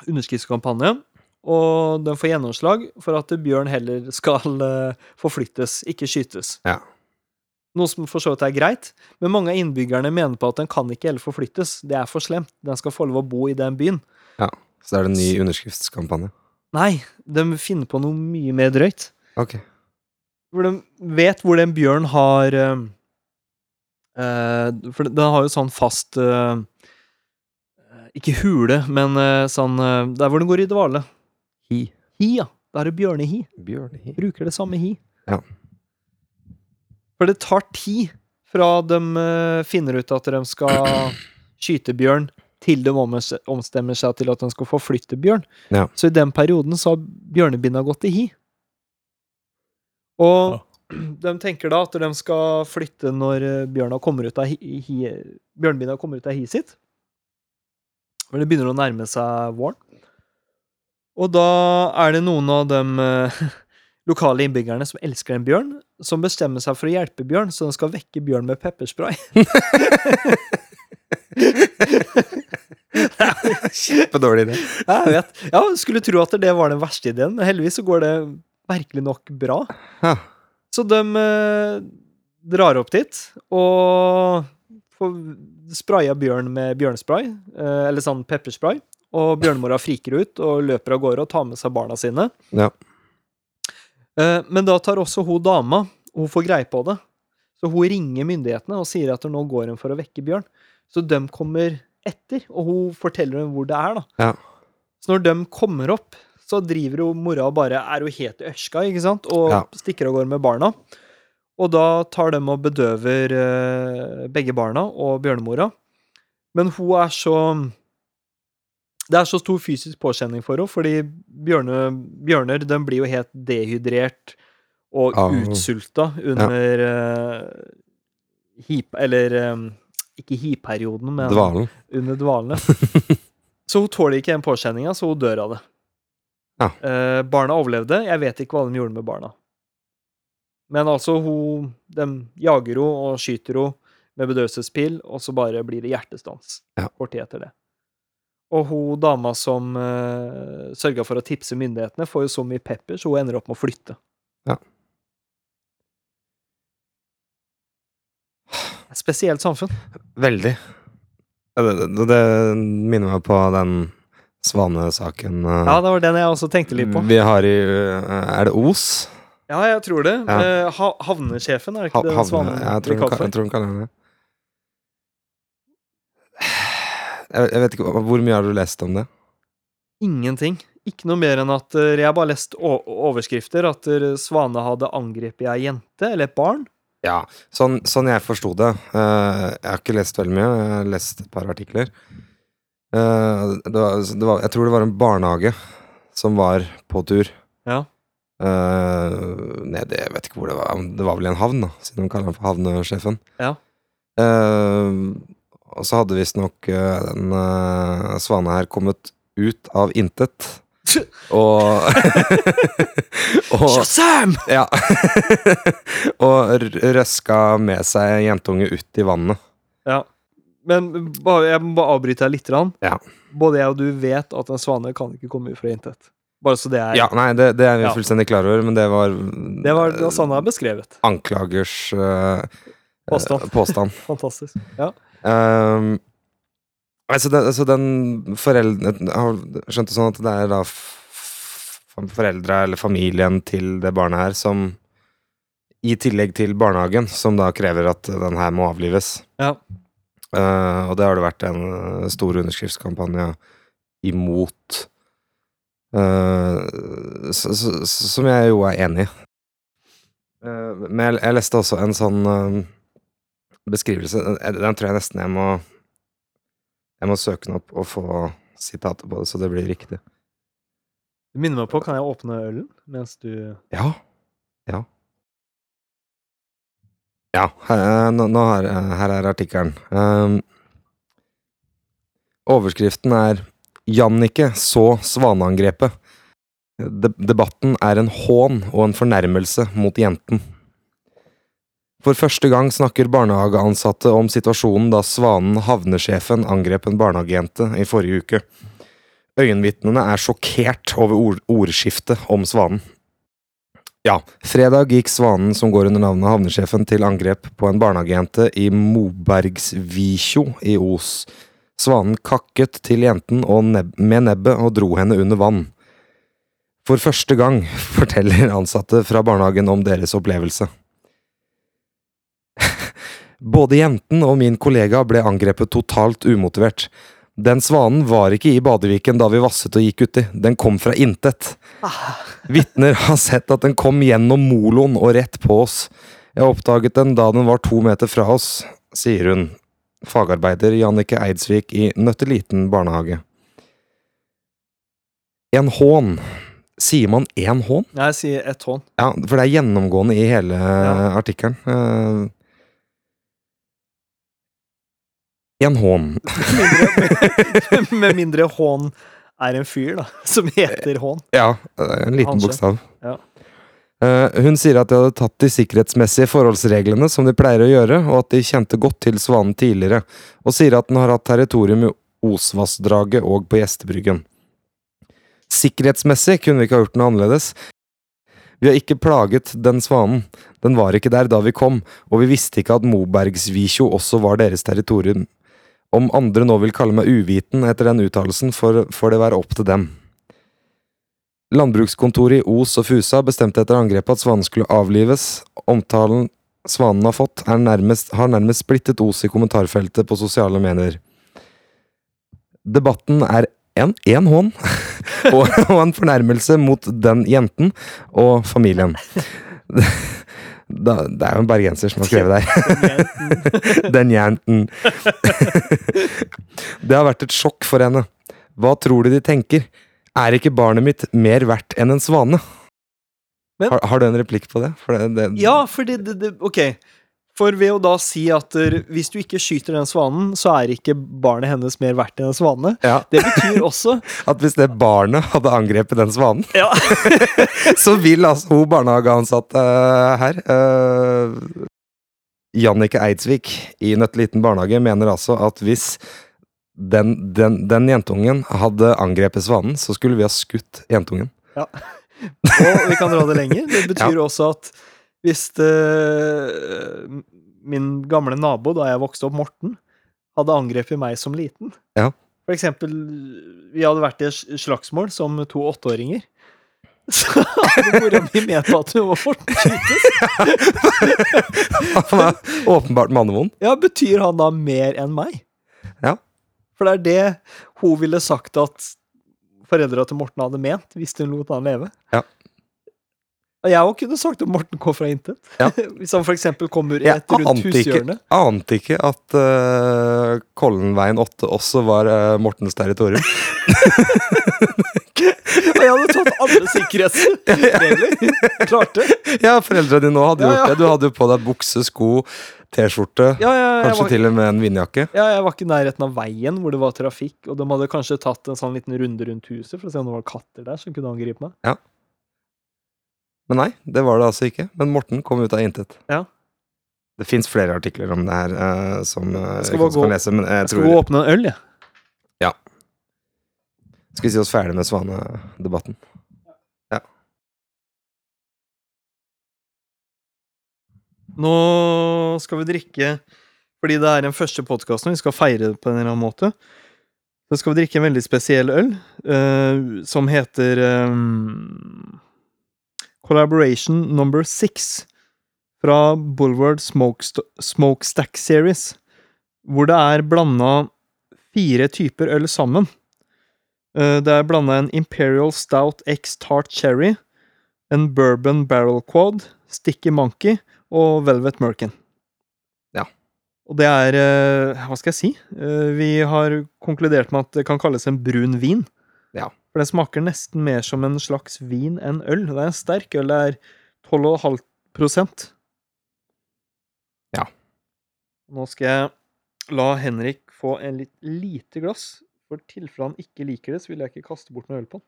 S2: underskriftskampanje, og den får gjennomslag for at bjørn heller skal eh, forflyttes, ikke skytes.
S1: Ja.
S2: Noe som for så vidt er greit, men mange av innbyggerne mener på at den kan ikke heller forflyttes. Det er for slemt. Den skal få lov å bo i den byen.
S1: Så da er det en ny underskriftskampanje.
S2: Nei, de finner på noe mye mer drøyt.
S1: Ok.
S2: Hvor de vet hvor den bjørn har eh, eh, For den har jo sånn fast eh, Ikke hule, men eh, sånn eh, Der hvor den går i dvale.
S1: Hi.
S2: Hi, ja. Da er det bjørnehi.
S1: Bjørnhi.
S2: Bruker det samme hi.
S1: Ja.
S2: For det tar tid fra de eh, finner ut at de skal skyte bjørn, til de omes- omstemmer seg til at de skal forflytte bjørn.
S1: Ja.
S2: Så i den perioden så har bjørnebinna gått i hi. Og de tenker da at de skal flytte når eh, bjørna kommer ut av hi, hi, bjørnebinna kommer ut av hiet sitt. For det begynner å nærme seg våren. Og da er det noen av dem eh, lokale innbyggerne som elsker en bjørn, som bestemmer seg for å hjelpe bjørn, så den skal vekke bjørn med pepperspray.
S1: Kjempedårlig idé.
S2: Jeg vet. Ja, skulle tro at det var den verste ideen, men heldigvis så går det merkelig nok bra.
S1: Ja.
S2: Så de eh, drar opp dit og får spraya bjørn med bjørnspray, eh, eller sånn pepperspray. Og bjørnemora friker ut og løper av gårde og tar med seg barna sine.
S1: Ja.
S2: Eh, men da tar også hun dama Hun får greie på det. Så hun ringer myndighetene og sier at nå går hun for å vekke bjørn. Så de kommer etter, og hun forteller dem hvor det er. da.
S1: Ja.
S2: Så når de kommer opp, så driver hun mora og bare er hun helt ørska, ikke sant? Og
S1: Ja.
S2: stikker av gårde med barna. Og da tar de og bedøver eh, begge barna og bjørnemora. Men hun er så Det er så stor fysisk påkjenning for henne, fordi bjørne, bjørner de blir jo helt dehydrert og
S1: Au.
S2: utsulta under eh, hip... Eller eh, ikke hiperioden, men
S1: Dvalen.
S2: under dvalene. så hun tåler ikke den påkjenninga, så hun dør av det.
S1: Ja.
S2: Eh, barna overlevde. Jeg vet ikke hva de gjorde med barna. Men altså, hun De jager henne og skyter henne med bedøvelsespil, og så bare blir det hjertestans
S1: Ja.
S2: kort tid etter det. Og hun dama som uh, sørga for å tipse myndighetene, får jo så mye pepper, så hun ender opp med å flytte.
S1: Ja.
S2: Et Spesielt samfunn.
S1: Veldig. Ja, Det, det, det minner meg på den svanesaken eh,
S2: Ja, det var den jeg også tenkte litt på.
S1: vi har i eh, Er det Os?
S2: Ja, jeg tror det.
S1: Ja.
S2: Eh, ha- Havnesjefen, er det
S1: Ha,
S2: ikke det
S1: havne,
S2: svanen
S1: jeg tror hun
S2: blir kalt
S1: ka-
S2: for?
S1: jeg tror hun kaller det det. Jeg, jeg vet ikke hva- Hvor mye har du lest om det?
S2: Ingenting. Ikke noe mer enn at eh, jeg har bare lest o- overskrifter at eh, Svane hadde angrepet ei jente eller et barn.
S1: Ja, sånn, sånn jeg forsto det eh, Jeg har ikke lest veldig mye, jeg har lest et par artikler. Eh, det var, det var, jeg tror det var en barnehage som var på tur.
S2: Ja.
S1: Eh, nede, jeg vet ikke hvor det var, det var vel i en havn, da, siden de kaller han for havnesjefen.
S2: Ja.
S1: Eh, og så hadde visstnok uh, den eh, svane her kommet ut av intet. Og, og
S2: Shazam!
S1: ja. og r- røska med seg en jentunge ut i vannet.
S2: Men bare, jeg må bare avbryte deg litt. grann.
S1: Ja.
S2: Både jeg og du vet at en svane kan ikke komme ut fra intet. Bare så det er
S1: Ja, nei, det, det er vi
S2: Ja.
S1: fullstendig klar over, men det var,
S2: Det var det var sånn det er beskrevet.
S1: anklagers eh,
S2: Påstand.
S1: eh, påstand.
S2: Fantastisk. Ja.
S1: Ehm, altså den, altså den foreldre har skjønt det sånn at det er da f- f- foreldra eller familien til det barnet her som I tillegg til barnehagen, som da krever at den her må avlives.
S2: Ja.
S1: Eh, og det har det vært en eh, stor underskriftskampanje imot. Eh, s- s- s- som jeg jo er enig i. Eh, men jeg, jeg leste også en sånn eh, beskrivelse Den den tror jeg nesten jeg må Jeg må søke den opp og få sitatet på det, så det blir riktig.
S2: Du minner meg på, kan jeg åpne ølen mens du
S1: Ja. Ja. Ja, her, eh, nå, nå her, her er artikkelen. Ehm, overskriften er 'Jannicke så svaneangrepet'. De debatten er en hån og en fornærmelse mot jenten. For første gang snakker barnehageansatte om situasjonen da Svanen havnesjefen angrep en barnehagejente i forrige uke. Øyenvitnene er sjokkert over ord ordskiftet om Svanen. Ja, fredag gikk Svanen, som går under navnet havnesjefen, til angrep på en barnehagejente i Mobergsvikjo i Os. Svanen kakket til jenten og neb med nebbet og dro henne under vann. For første gang forteller ansatte fra barnehagen om deres opplevelse. Både jenten og min kollega ble angrepet totalt umotivert. Den svanen var ikke i badeviken da vi vasset og gikk uti, den kom fra intet. Vitner har sett at den kom gjennom moloen og rett på oss. Jeg oppdaget den da den var to meter fra oss, sier hun. Fagarbeider Jannicke Eidsvik i Nøtteliten barnehage. En hån. Sier man én hån?
S2: Nei, Jeg sier ett hånd.
S1: Ja, for det er gjennomgående i hele eh, artikkelen. Eh, en hån.
S2: Med mindre hån er en fyr, da, som heter hån.
S1: Ja, eh, en liten
S2: Kanskje.
S1: bokstav.
S2: Ja.
S1: Eh, hun sier at de hadde tatt de sikkerhetsmessige forholdsreglene som de pleier å gjøre, og at de kjente godt til svanen tidligere, og sier at den har hatt territorium i Osvassdraget og på Gjestebryggen. Sikkerhetsmessig kunne vi ikke ha gjort noe annerledes. Vi har ikke plaget den svanen. Den var ikke der da vi kom, og vi visste ikke at Mobergsvikjo også var deres territorium. Om andre nå vil kalle meg uviten etter den uttalelsen, får får det være opp til dem. Landbrukskontoret i Os og Fusa bestemte etter angrepet at svanen skulle avlives. Omtalen svanen har fått, er nærmest, har nærmest splittet Os i kommentarfeltet på sosiale medier. Debatten er en, en hån og, og en fornærmelse mot den jenten og familien. Da, det er jo en bergenser som har skrevet det her. Den jenten. det har vært et sjokk for henne. Hva tror du de tenker? Er ikke barnet mitt mer verdt enn en svane?
S2: Men-
S1: har, har du en replikk på det? For det, det
S2: Ja, for det, det, det Ok. For ved å da si at eh, hvis du ikke skyter den svanen, så er ikke barnet hennes mer verdt enn en svane.
S1: Ja,
S2: Det betyr også
S1: At hvis det barnet hadde angrepet den svanen,
S2: Ja,
S1: så vil altså hun barnehageansatte eh, her eh, Jannicke Eidsvik i Nøtteliten barnehage mener altså at hvis den, den, den jentungen hadde angrepet svanen, så skulle vi ha skutt jentungen.
S2: og vi kan dra det lenger. Det betyr også at hvis eh, min gamle nabo da jeg vokste opp, Morten, hadde angrepet meg som liten
S1: Ja.
S2: For eksempel, vi hadde vært i et slagsmål som to åtteåringer. Så hadde mora mi ment at hun var Morten skytes.
S1: Han er åpenbart mannevond.
S2: Ja, betyr han da mer enn meg?
S1: Ja.
S2: For det er det hun ville sagt at foreldra til Morten hadde ment, hvis hun lot han leve.
S1: Ja.
S2: Og Jeg òg kunne sagt at Morten kom fra intet.
S1: Ja.
S2: Hvis han f.eks. kommer
S1: Jeg
S2: rett rundt
S1: ante ikke,
S2: hushjørnet.
S1: ante ikke at eh, Kollenveien 8 også var eh, Mortens territorium.
S2: Og jeg hadde tatt alle sikkerhetsregler. Klart det.
S1: ja, foreldra dine nå hadde
S2: Ja,
S1: gjort
S2: ja.
S1: det. Du hadde jo på deg bukse, sko, T-skjorte.
S2: Ja, ja, jeg,
S1: Kanskje
S2: var,
S1: til og med en vindjakke.
S2: ja, jeg var ikke i nærheten av veien hvor det var trafikk, og de hadde kanskje tatt en sånn liten runde rundt huset for å se om det var katter der som kunne angripe meg.
S1: Men nei, det var det altså ikke. Men Morten kom ut av intet.
S2: Ja.
S1: Det fins flere artikler om det her eh, som eh,
S2: Jeg skal
S1: jeg ikke
S2: bare
S1: skal
S2: gå-
S1: lese, men jeg
S2: Jeg skal
S1: tror
S2: gå og åpne en øl, jeg.
S1: Skal vi si oss ferdig med svanedebatten?
S2: Nå skal vi drikke Fordi det er den første podkasten, og vi skal feire det på en eller annen måte. Så skal vi drikke en veldig spesiell øl, eh, som heter eh, Collaboration Number Six fra Bulward Smokest Smokestack Series, hvor det er blanda fire typer øl sammen. Eh, det er blanda en Imperial Stout X Tart Cherry, en Bourbon Barrel Quad, Sticky Monkey og Velvet Merkin.
S1: Ja.
S2: Og det er eh, Hva skal jeg si? Eh, Vi har konkludert med at det kan kalles en brun vin.
S1: Ja.
S2: For den smaker nesten mer som en slags vin enn øl. Det er en sterk øl. Det er 12,5
S1: Ja.
S2: Nå skal jeg la Henrik få en litt lite glass. For tilfelle han ikke liker det, så vil jeg ikke kaste bort noe øl på han.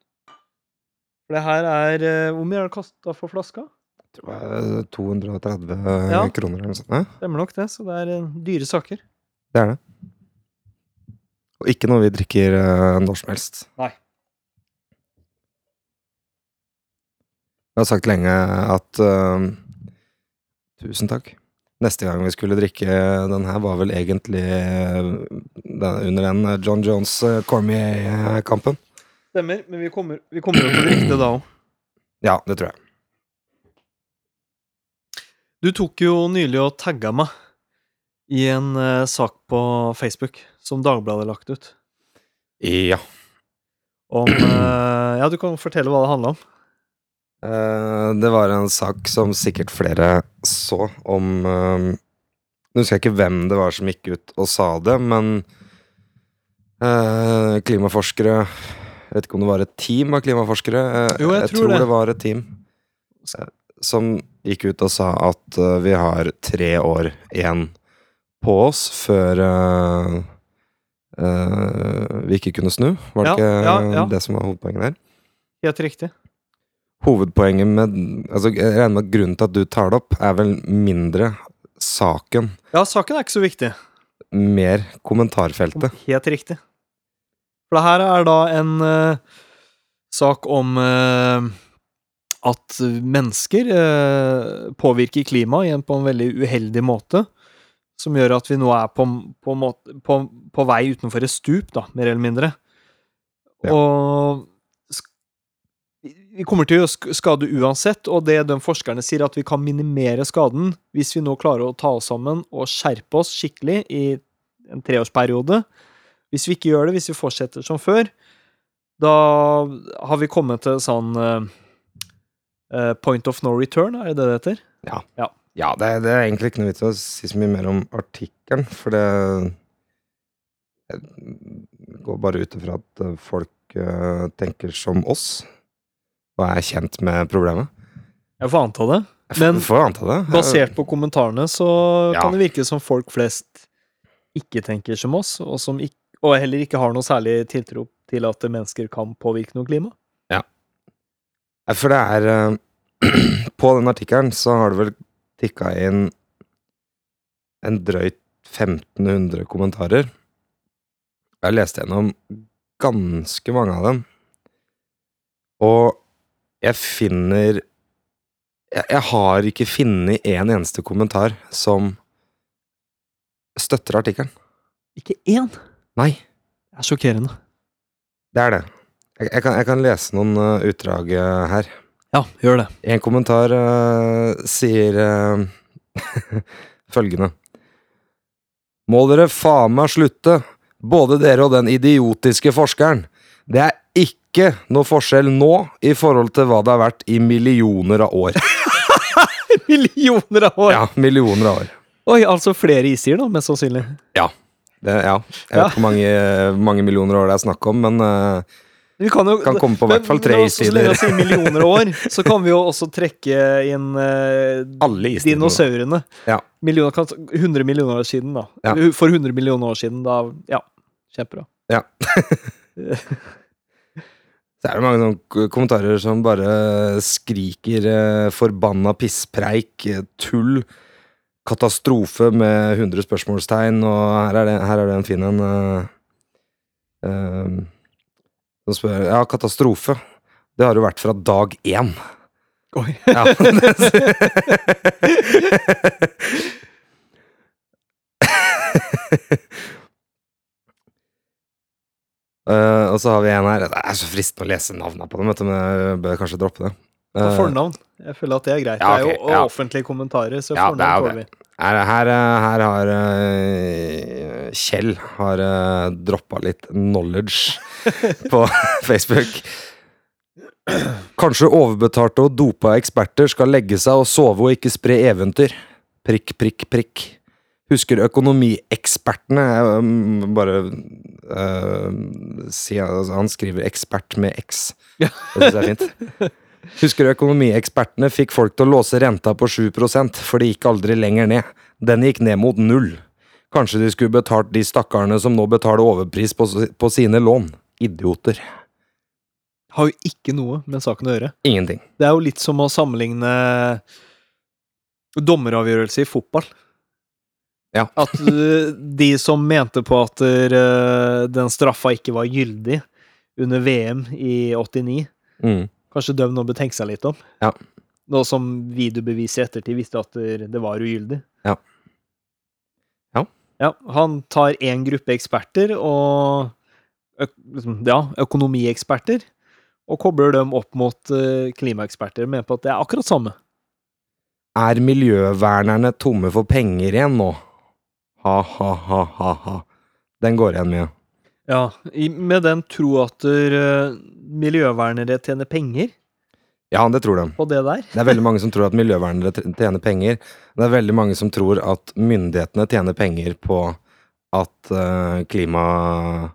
S2: For det her er eh, Hvor mye er det kasta for flaska?
S1: Jeg tror det er 230 eh,
S2: Ja.
S1: kroner eller noe sånt. Hæ?
S2: Stemmer nok det, så det er eh, dyre saker.
S1: Det er det. Og ikke noe vi drikker eh, når som helst.
S2: Nei.
S1: Jeg har sagt lenge at eh, Tusen takk. Neste gang vi skulle drikke den her, var vel egentlig eh, den, under den eh, John Jones eh, Cormier-kampen.
S2: Stemmer, men vi kommer, vi kommer jo til å drikke det da òg.
S1: Ja, det tror jeg.
S2: Du tok jo nylig og tagga meg i en eh, sak på Facebook som Dagbladet har lagt ut.
S1: Ja.
S2: Om eh, Ja, du kan fortelle hva det handla om.
S1: Eh, det var en sak som sikkert flere så, om eh, Nå husker jeg ikke hvem det var som gikk ut og sa det, men eh, klimaforskere Jeg vet ikke om det var et team av klimaforskere. eh,
S2: Jo, jeg tror det.
S1: det var et team eh, som gikk ut og sa at eh, vi har tre år igjen på oss før eh, eh, vi ikke kunne snu. Var det
S2: Ja,
S1: ikke
S2: ja, ja.
S1: det som var hovedpoenget der?
S2: Helt riktig.
S1: hovedpoenget med altså, Jeg regner med at grunnen til at du tar det opp, er vel mindre saken,
S2: Ja, saken er ikke så viktig.
S1: mer kommentarfeltet.
S2: Helt riktig. For det her er da en eh, sak om eh, at mennesker eh, påvirker klimaet igjen på en veldig uheldig måte. Som gjør at vi nå er på, på, en måte, på, på vei utenfor et stup, da, mer eller mindre.
S1: Ja.
S2: Og sk- vi kommer til å sk- skade uansett, og det de forskerne sier, at vi kan minimere skaden hvis vi nå klarer å ta oss sammen og skjerpe oss skikkelig i en treårsperiode. Hvis vi ikke gjør det, hvis vi fortsetter som før, da har vi kommet til sånn eh, eh, point of no return, er det det det heter?
S1: Ja, det, er- det er egentlig ikke noe vits i å si så mye mer om artikkelen, for det jeg går bare ut ifra at eh, folk eh, tenker som oss, og er kjent med problemet.
S2: Jeg får anta det.
S1: Jeg
S2: Men
S1: f- får anta det.
S2: Basert på kommentarene så
S1: Ja.
S2: kan det virke som folk flest ikke tenker som oss, og, som ikk- og heller ikke har noe særlig tiltro til at mennesker kan påvirke noe klima.
S1: Nei, For det er eh, På den artikkelen så har det vel tikka inn en drøyt 1500 kommentarer. Jeg har lest gjennom ganske mange av dem. Og jeg finner Jeg, jeg har ikke funnet en eneste kommentar som støtter artikkelen.
S2: Ikke én!
S1: Nei.
S2: Det er sjokkerende.
S1: Det er det. Jeg, jeg, kan, jeg kan lese noen eh, utdrag eh, her.
S2: Ja, gjør det.
S1: En kommentar eh, sier eh, følgende. Må dere faen meg slutte, både dere og den idiotiske forskeren. Det er ikke noe forskjell nå i forhold til hva det har vært i millioner av år.
S2: Millioner av år!
S1: Ja, millioner av år.
S2: Oi, altså flere isier, da, mest sannsynlig.
S1: Det, ja, jeg
S2: Ja.
S1: vet ikke hvor mange, mange millioner år det er snakk om, men eh,
S2: Vi kan jo
S1: kan komme på i hvert fall tre
S2: Men
S1: isider.
S2: også, så lenge jeg sier millioner av år, så kan vi jo også trekke inn eh,
S1: Alle isene.
S2: dinosaurene.
S1: Ja.
S2: Millioner, kan- 100 millioner år siden, da.
S1: Ja.
S2: Eller For 100 millioner år siden, da. Ja. Kjempebra.
S1: Så er det mange sånne k- kommentarer som bare skriker eh, forbanna pisspreik, eh, tull, katastrofe med 100 spørsmålstegn, og her er det, her er det en fin en eh, eh, som spør Ja, katastrofe. Det har jo vært fra dag én.
S2: Oi.
S1: Ja, det- Eh, og så har vi en her Det er så fristende å lese navnene på dem, vet du, men jeg bør kanskje droppe det. Eh,
S2: Fornavn. Jeg føler at det er greit.
S1: Ja,
S2: det er
S1: ok,
S2: jo
S1: ja.
S2: offentlige kommentarer, så
S1: Ja, det er
S2: fornavn
S1: jo
S2: tåler vi.
S1: her, her, eh, her har eh, Kjell har uh, droppa litt knowledge på Facebook. Kanskje overbetalte og dopa eksperter skal legge seg og sove og ikke spre eventyr. Prikk, prikk, prikk. Husker økonomiekspertene jeg, um, Bare eh, si, altså, Han skriver 'ekspert' med X.
S2: Ja.
S1: Det syns jeg er fint. Husker økonomiekspertene fikk folk til å låse renta på 7 for de gikk aldri lenger ned. Den gikk ned mot null. Kanskje de skulle betalt de stakkarene som nå betaler overpris på, s- på sine lån. Idioter.
S2: Har jo ikke noe med saken å gjøre.
S1: Ingenting.
S2: Det er jo litt som å sammenligne dommeravgjørelse i fotball.
S1: Ja.
S2: At eh, de som mente på at eh, den straffa ikke var gyldig under VM i 89,
S1: Mm.
S2: kanskje døm nå bør tenke seg litt om.
S1: Ja.
S2: Nå som videobeviset i ettertid visste at det var ugyldig.
S1: Ja. Ja.
S2: Ja, han tar én gruppe eksperter og øk, liksom, ja, økonomieksperter, og kobler dem opp mot eh, klimaeksperter, med på at det er akkurat samme.
S1: Er miljøvernerne tomme for penger igjen nå? Ha-ha-ha-ha. Den går igjen mye.
S2: Ja, i, med den tro at eh, miljøvernere tjener penger
S1: Ja, det tror de.
S2: på det der.
S1: Det er veldig mange som tror at miljøvernere t- tjener penger. Det er veldig mange som tror at myndighetene tjener penger på at eh, klima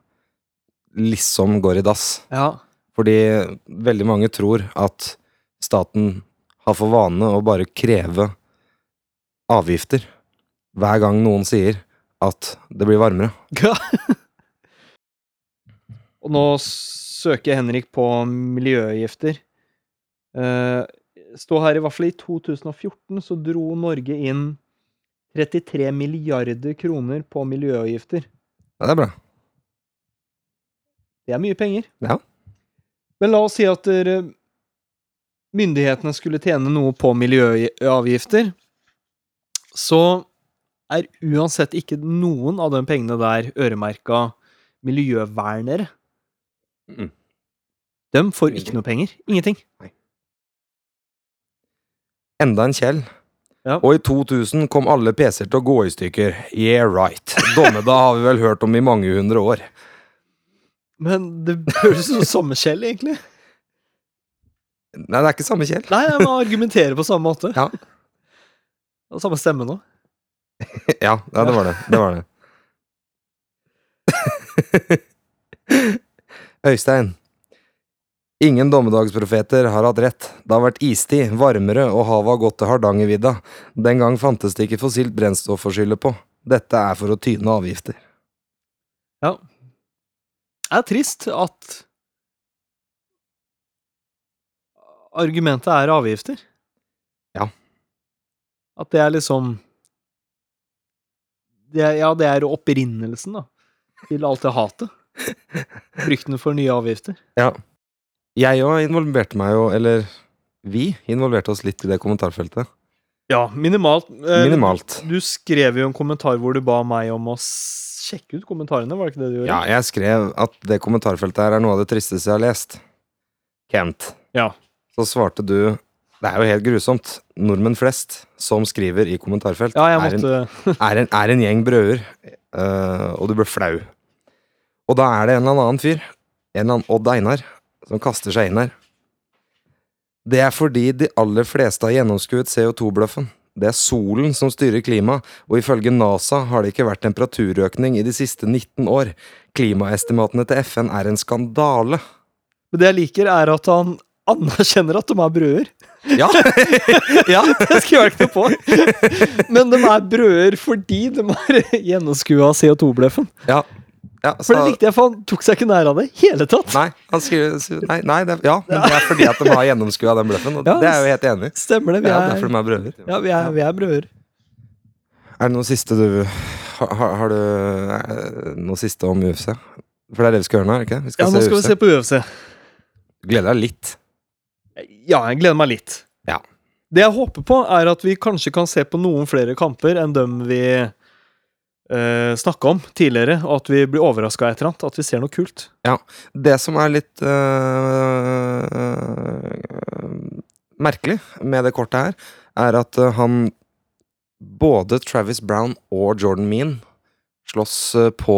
S1: liksom går i dass.
S2: Ja.
S1: Fordi veldig mange tror at staten har for vane å bare kreve avgifter hver gang noen sier at det blir varmere.
S2: Og nå søker Henrik på miljøavgifter. Eh, stå her i hvert fall i 2014 så dro Norge inn 33 milliarder kroner på miljøavgifter.
S1: Ja, det er bra.
S2: Det er mye penger.
S1: Ja.
S2: Men la oss si at dere, myndighetene skulle tjene noe på miljøavgifter, så er uansett ikke noen av de pengene der øremerka miljøvernere.
S1: Mm.
S2: De får ikke noe penger. Ingenting.
S1: Enda en Kjell.
S2: Ja.
S1: Og i 2000 kom alle PC-er til å gå i stykker. Yeah right. Dommedag har vi vel hørt om i mange hundre år.
S2: Men det høres ut som samme skjell, egentlig.
S1: Nei, det er ikke samme Kjell.
S2: Nei, man argumenterer på samme måte.
S1: Ja.
S2: Og samme stemme nå.
S1: Ja, ja det var det. Det var det. Øystein. Ingen dommedagsprofeter har hatt rett. Det har vært istid, varmere, og havet har gått til Hardangervidda. Den gang fantes det ikke fossilt brennstoff å skylde på. Dette er for å tyne avgifter.
S2: Det er trist at argumentet er avgifter.
S1: Ja.
S2: At det er liksom det er, Ja, det er opprinnelsen, da, til alt det hatet. Frykten for nye avgifter.
S1: Jeg òg involverte meg jo, eller vi involverte oss litt i det kommentarfeltet.
S2: Ja, minimalt. Eh,
S1: Minimalt.
S2: Du skrev jo en kommentar hvor du ba meg om å s- sjekke ut kommentarene, var det ikke det du gjorde?
S1: Ja, jeg skrev at det kommentarfeltet her er noe av det tristeste jeg har lest. Kent.
S2: Ja.
S1: Så svarte du Det er jo helt grusomt. Nordmenn flest som skriver i kommentarfelt,
S2: Ja, jeg
S1: er, en,
S2: måtte
S1: er, en, er en gjeng brøder, eh, og du blir flau. Og da er det en eller annen fyr, en eller annen Odd Einar, som kaster seg inn her. Det er fordi de aller fleste har gjennomskuet CO2-bløffen. Det er solen som styrer klimaet, og ifølge NASA har det ikke vært temperaturøkning i de siste 19 år. Klimaestimatene til FN er en skandale.
S2: Men det jeg liker, er at han anerkjenner at de er brøder.
S1: Ja! ja.
S2: Det skriver jeg ikke noe på. Men de er brøder fordi de har gjennomskua CO2-bløffen.
S1: ja. ja
S2: For det likte jeg, for han tok seg ikke nær av det i hele tatt.
S1: Nei, han skriver sier- Nei, nei det, er- ja, men det er fordi at de har gjennomskua den bløffen. Og
S2: Ja,
S1: det er jeg jo helt enig i.
S2: Stemmer det.
S1: Det
S2: Vi
S1: er jo derfor
S2: er,
S1: de er brødre.
S2: ja, vi er, vi er brøder.
S1: Er det noe siste du Har, har- har du eh, noe siste om UFC? For det er det vi skal gjøre nå, er det ikke? Vi skal
S2: Ja, nå skal vi
S1: se UFC.
S2: se på UFC.
S1: Gleder deg litt.
S2: Ja, jeg gleder meg litt.
S1: Ja.
S2: Det jeg håper på, er at vi kanskje kan se på noen flere kamper enn dem vi eh, snakka om tidligere, og at vi blir overraska et eller annet. At vi ser noe kult.
S1: Det som er litt øh, merkelig med det kortet her, er at øh, han Både Travis Brown og Jordan Mean slåss øh, på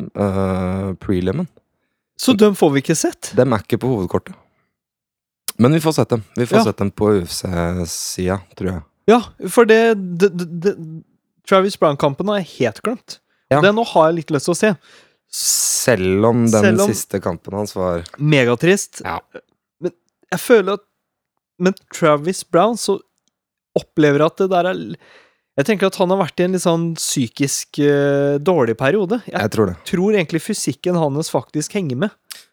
S1: øh, prelimen.
S2: Så dem får vi ikke sett.
S1: Dem er ikke på hovedkortet. Men vi får sett dem. Vi får
S2: Ja.
S1: sett dem på UFC-sida, tror jeg.
S2: Ja, for det, det, det, det Travis Brown-kampen har jeg helt glemt.
S1: Ja.
S2: Og Den nå har jeg litt lyst til å se.
S1: Selv om den
S2: Selv om-
S1: siste kampen hans var
S2: Megatrist.
S1: Ja.
S2: Men jeg føler at Med Travis Brown så opplever jeg at det der er l- Jeg tenker at han har vært i en litt sånn psykisk eh, dårlig periode. Jeg
S1: Jeg tror det.
S2: tror egentlig fysikken hans faktisk henger med.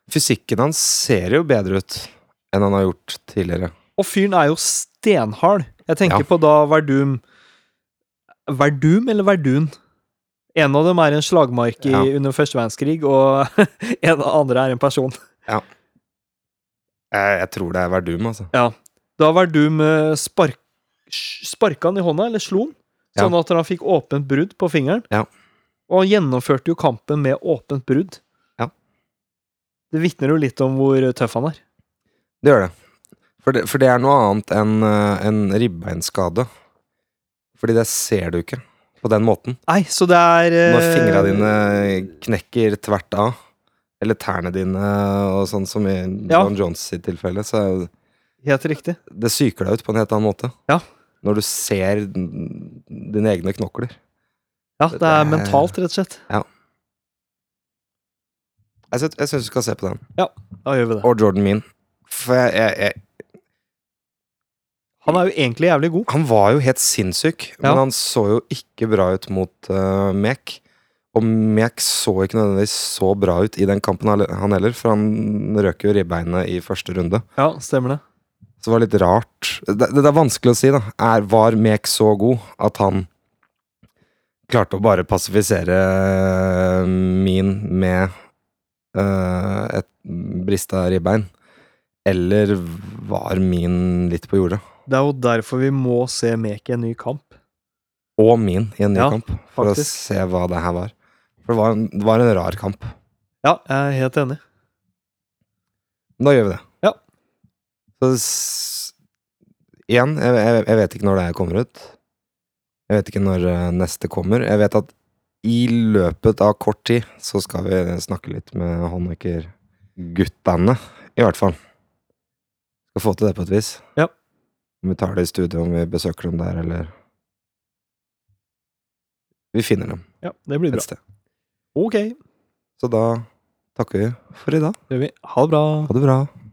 S1: Fysikken hans ser jo bedre ut enn han har gjort tidligere.
S2: Og fyren er jo stenhard. Jeg tenker
S1: Ja.
S2: på da Verdum Verdum eller Verdun? En av dem er en slagmark i,
S1: Ja.
S2: under første verdenskrig, og en av andre er en person.
S1: Jeg, jeg tror det er Verdum, altså.
S2: Da var du med spark... Sparka han i hånda, eller slo han?
S1: Ja.
S2: Sånn at han fikk åpent brudd på fingeren.
S1: Ja.
S2: Og han gjennomførte jo kampen med åpent brudd.
S1: Ja.
S2: Det vitner jo litt om hvor tøff han er.
S1: Det gjør det. For det, for det er noe annet enn eh, en ribbeinskade. Fordi det ser du ikke på den måten.
S2: Nei, så det er eh,
S1: Når fingra dine knekker tvert av, eller tærne dine og sånn som i
S2: Ja.
S1: John Jones sitt tilfelle, så er jo-
S2: Helt riktig.
S1: det psyker deg ut på en helt annen måte.
S2: Ja.
S1: Når du ser n- dine egne knokler.
S2: Ja, det
S1: Det
S2: er
S1: er-
S2: mentalt, rett og slett.
S1: Jeg syns, jeg syns du skal se på den.
S2: Da gjør vi det.
S1: Og Jordan Mean. For jeg, jeg, jeg
S2: Han er jo egentlig jævlig god.
S1: Han var jo helt sinnssyk,
S2: Ja.
S1: men han så jo ikke bra ut mot eh, Mek. Og Mek så ikke nødvendigvis så bra ut i den kampen helle- han heller, for han røk jo ribbeinet i første runde.
S2: Ja, stemmer det.
S1: Så det var litt rart. Det, det er vanskelig å si, da. Er, var Mek så god at han klarte å bare pasifisere eh, min med eh, et brista ribbein? Eller var min litt på jordet?
S2: Det er jo derfor vi må se Mek i en ny kamp.
S1: og min i en ny
S2: Ja,
S1: kamp, for
S2: faktisk.
S1: å se hva det her var. For det var, en, det var en rar kamp.
S2: Ja, jeg er helt enig.
S1: Men da gjør vi det.
S2: Ja.
S1: Så s- igjen, jeg, jeg, jeg vet ikke når det her kommer ut. Jeg vet ikke når eh, neste kommer. Jeg vet at i løpet av kort tid så skal vi snakke litt med håndverkerguttene, i hvert fall. Skal få til det på et vis.
S2: Ja.
S1: Om vi tar det i studio, om vi besøker dem der, eller Vi finner dem
S2: Ja, det blir
S1: et
S2: bra.
S1: sted.
S2: Ok,
S1: Så da takker vi for i dag.
S2: gjør vi. Ha det bra.
S1: Ha det bra.